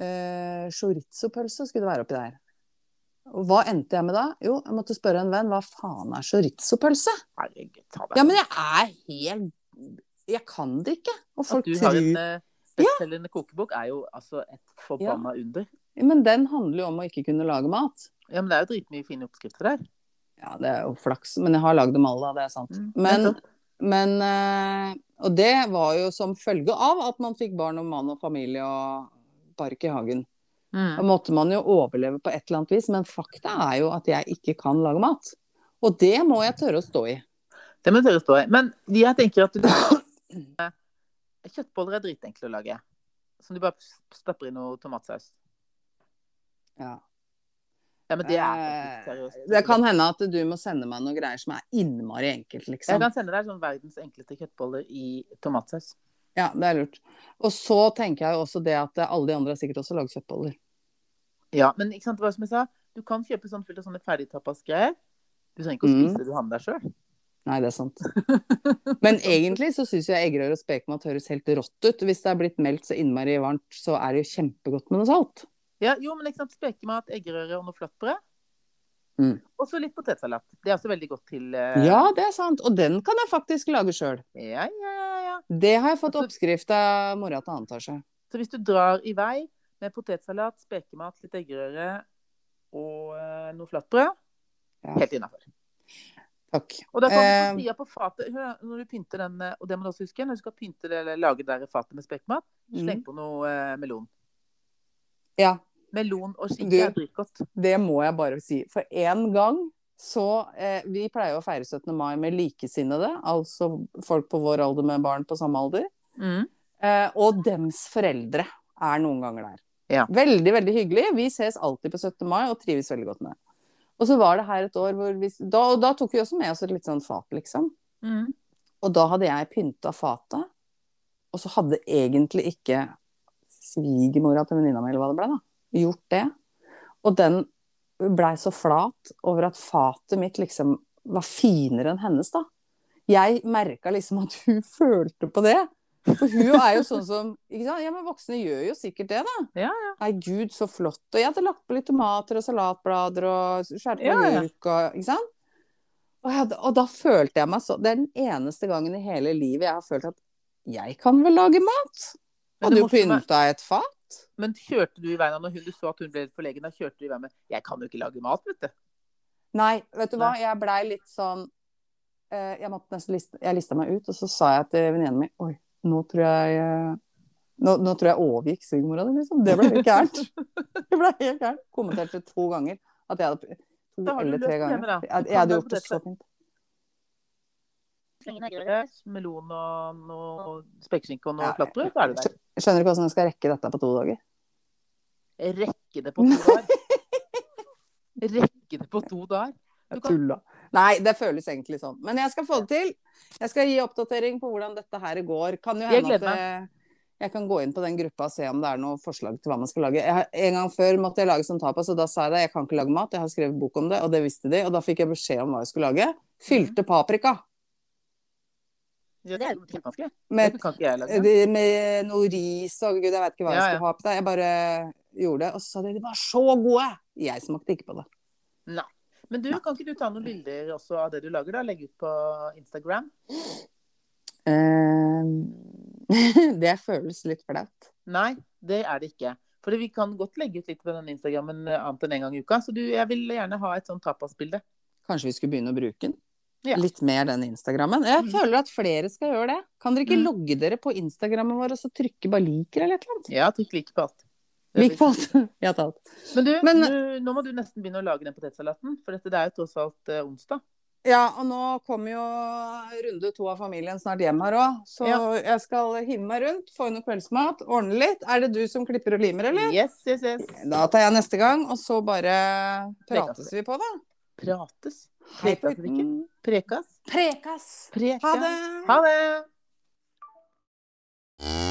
Speaker 1: eh, chorizo-pølse skulle det være oppi der. Og hva endte jeg med da? Jo, jeg måtte spørre en venn hva faen er chorizo-pølse?
Speaker 2: Herregud, ta deg
Speaker 1: Ja, men jeg er helt Jeg kan det ikke. Og
Speaker 2: At
Speaker 1: folk
Speaker 2: du har
Speaker 1: tror
Speaker 2: en eh, bestselgende kokebok, er jo altså et forbanna under.
Speaker 1: Men den handler jo om å ikke kunne lage mat.
Speaker 2: Ja, men det er jo dritmye fine oppskrifter der.
Speaker 1: Ja, det er jo flaks, men jeg har lagd dem alle, da. Det er sant.
Speaker 2: Mm,
Speaker 1: Men,
Speaker 2: nettopp.
Speaker 1: men eh, Og det var jo som følge av at man fikk barn og mann og familie og park i hagen. Da
Speaker 2: mm.
Speaker 1: måtte man jo overleve på et eller annet vis, men fakta er jo at jeg ikke kan lage mat. Og det må jeg tørre å stå i.
Speaker 2: Det må dere stå i. Men jeg tenker at du Eh, Kjøttboller er dritenkle å lage. Som du bare stapper i noe tomatsaus.
Speaker 1: Ja. Eh,
Speaker 2: Ja, men det er faktisk seriøst.
Speaker 1: Det kan hende at du må sende meg noen greier som er innmari enkelt,
Speaker 2: Jeg
Speaker 1: liksom.
Speaker 2: kan sende deg sånn verdens enkleste kjøttboller i tomatsaus.
Speaker 1: Ja, det er lurt. Og så tenker jeg jo også det at alle de andre har sikkert også lagd kjøttboller.
Speaker 2: Ja, men ikke sant, det var som jeg sa, du kan kjøpe sånn fullt av sånne ferdigtapasgreier. Du trenger ikke å
Speaker 1: Mm.
Speaker 2: spise det du har med deg sjøl.
Speaker 1: Nei, det er sant. Men egentlig så syns jeg eggerøre og spekemat høres helt rått ut. Hvis det er blitt meldt så innmari varmt, så er det jo kjempegodt med noe salt.
Speaker 2: Ja, jo, men ikke sant, spekemat, eggerøre og noe flatbrød.
Speaker 1: Mm.
Speaker 2: Og så litt potetsalat. Det er også veldig godt til eh,
Speaker 1: Ja, det er sant. Og den kan jeg faktisk lage sjøl.
Speaker 2: ja, ja, ja, ja.
Speaker 1: Det har jeg fått oppskrift av mora til annen etasje.
Speaker 2: Så hvis du drar i vei med potetsalat, spekemat, litt eggerøre og eh, noe flatbrød,
Speaker 1: Ja.
Speaker 2: helt innafor.
Speaker 1: Takk.
Speaker 2: Og da kan
Speaker 1: Eh.
Speaker 2: du på sida på fatet hør da, Når du pynter den, eh, og det må du også huske når du skal pynte det, eller lage det der fatet med spekemat, sleng på noe eh, melon.
Speaker 1: Mm. Ja,
Speaker 2: Melon og
Speaker 1: Du-
Speaker 2: skinke er dritgodt.
Speaker 1: det må jeg bare si. For én gang så eh, Vi pleier jo å feire 17. mai med likesinnede, altså folk på vår alder med barn på samme alder.
Speaker 2: Mm.
Speaker 1: Eh, og dems foreldre er noen ganger der.
Speaker 2: Ja.
Speaker 1: Veldig, veldig hyggelig. Vi ses alltid på 17. mai og trives veldig godt med det. Og så var det her et år hvor vi Da, og da tok vi også med oss et litt sånn fat, liksom.
Speaker 2: Mm.
Speaker 1: Og da hadde jeg pynta fatet, og så hadde egentlig ikke svigermora til venninna mi, eller hva det ble, da, gjort det. Og den blei så flat over at fatet mitt liksom var finere enn hennes, da. Jeg merka liksom at hun følte på det. For hun er jo sånn som ikke sant? Ja, men voksne gjør jo sikkert det, da.
Speaker 2: Ja,
Speaker 1: Nei, gud, så flott. Og jeg hadde lagt på litt tomater og salatblader og skåret på
Speaker 2: Ja, ja.
Speaker 1: agurk og Ikke sant? Og, jeg, hadde- og da følte jeg meg så Det er den eneste gangen i hele livet jeg har følt at jeg kan vel lage mat?
Speaker 2: Men
Speaker 1: Og
Speaker 2: det
Speaker 1: du
Speaker 2: morsomme-
Speaker 1: pynta et fat?
Speaker 2: Men kjørte du i veien av når hun, du så at hun ble litt forlegen? Da kjørte du i veien med 'Jeg kan jo ikke lage mat, vet du'.
Speaker 1: Nei, vet du hva, jeg blei litt sånn eh, Jeg måtte nesten liste Jeg lista meg ut, og så sa jeg til venninnen min Oi, nå tror jeg eh, nå, nå tror jeg overgikk svigermora di, liksom. Det ble helt gærent. Det ble helt gærent. Kommenterte to ganger at jeg hadde To
Speaker 2: Da har du
Speaker 1: eller
Speaker 2: løst
Speaker 1: tre
Speaker 2: problemet,
Speaker 1: ganger.
Speaker 2: da. Du
Speaker 1: Jeg, jeg
Speaker 2: kan
Speaker 1: hadde
Speaker 2: lage
Speaker 1: gjort det så
Speaker 2: potetsalat.
Speaker 1: fint.
Speaker 2: Melon og noe spekeskinke og noe
Speaker 1: Ja,
Speaker 2: flatbrød, så er du der.
Speaker 1: Jeg Skjønner ikke hvordan jeg skal rekke dette på to dager.
Speaker 2: Rekke det på to dager. Rekke det på to dager. Du
Speaker 1: Jeg
Speaker 2: kan,
Speaker 1: tulla. Nei, det føles egentlig sånn. Men jeg skal få det til. Jeg skal gi oppdatering på hvordan dette her går. Kan jo
Speaker 2: Jeg
Speaker 1: hende at
Speaker 2: gleder
Speaker 1: eh, jeg kan gå inn på den gruppa og se om det er noen forslag til hva man skal lage. Jeg, har- en gang før måtte jeg lage sånn tapas, og da sa jeg det. Jeg kan ikke lage mat. Jeg har skrevet bok om det, og det visste de. Og da fikk jeg beskjed om hva jeg skulle lage. Fylte paprika
Speaker 2: ja, det er jo kjempevanskelig. Det
Speaker 1: med,
Speaker 2: kan ikke jeg lage.
Speaker 1: det- med noe ris og gud, jeg vet ikke hva
Speaker 2: Ja,
Speaker 1: jeg
Speaker 2: ja.
Speaker 1: skulle ha på det. Jeg bare gjorde det, og så sa de de var så gode. Jeg smakte ikke på det.
Speaker 2: Men du, kan ikke du ta noen bilder også av det du lager? da? Legge ut på Instagram?
Speaker 1: Eh, Ehm, det føles litt flaut.
Speaker 2: Nei, det er det ikke. For vi kan godt legge ut litt på den Instagrammen eh, annet enn en gang i uka. Så du, jeg vil gjerne ha et sånt tapasbilde.
Speaker 1: Kanskje vi skulle begynne å bruke den?
Speaker 2: Ja.
Speaker 1: litt mer den Instagrammen. Jeg
Speaker 2: Mm.
Speaker 1: føler at flere skal gjøre det. Kan dere ikke
Speaker 2: Mm.
Speaker 1: logge dere på Instagrammen vår og så trykke bare liker eller et eller annet?
Speaker 2: Ja, trykk like på alt.
Speaker 1: Lik på alt. Ja, ta alt.
Speaker 2: Men du,
Speaker 1: Men-
Speaker 2: du, nå må du nesten begynne å lage den potetsalaten, for dette det er jo tross alt eh, onsdag.
Speaker 1: Ja, og nå kommer jo runde to av familien snart hjem her òg, så jeg skal hive meg rundt, få inn noe kveldsmat, ordne litt. Er det du som klipper og limer, eller?
Speaker 2: Yes, yes, yes.
Speaker 1: Da tar jeg neste gang, og så bare prates
Speaker 2: Prekas.
Speaker 1: vi på, da.
Speaker 2: Prates.
Speaker 1: Hei
Speaker 2: Prekas,
Speaker 1: på
Speaker 2: ikke?
Speaker 1: uten.
Speaker 2: Prekas.
Speaker 1: Prekas!
Speaker 2: Prekas.
Speaker 1: Ha det!
Speaker 2: Ha det.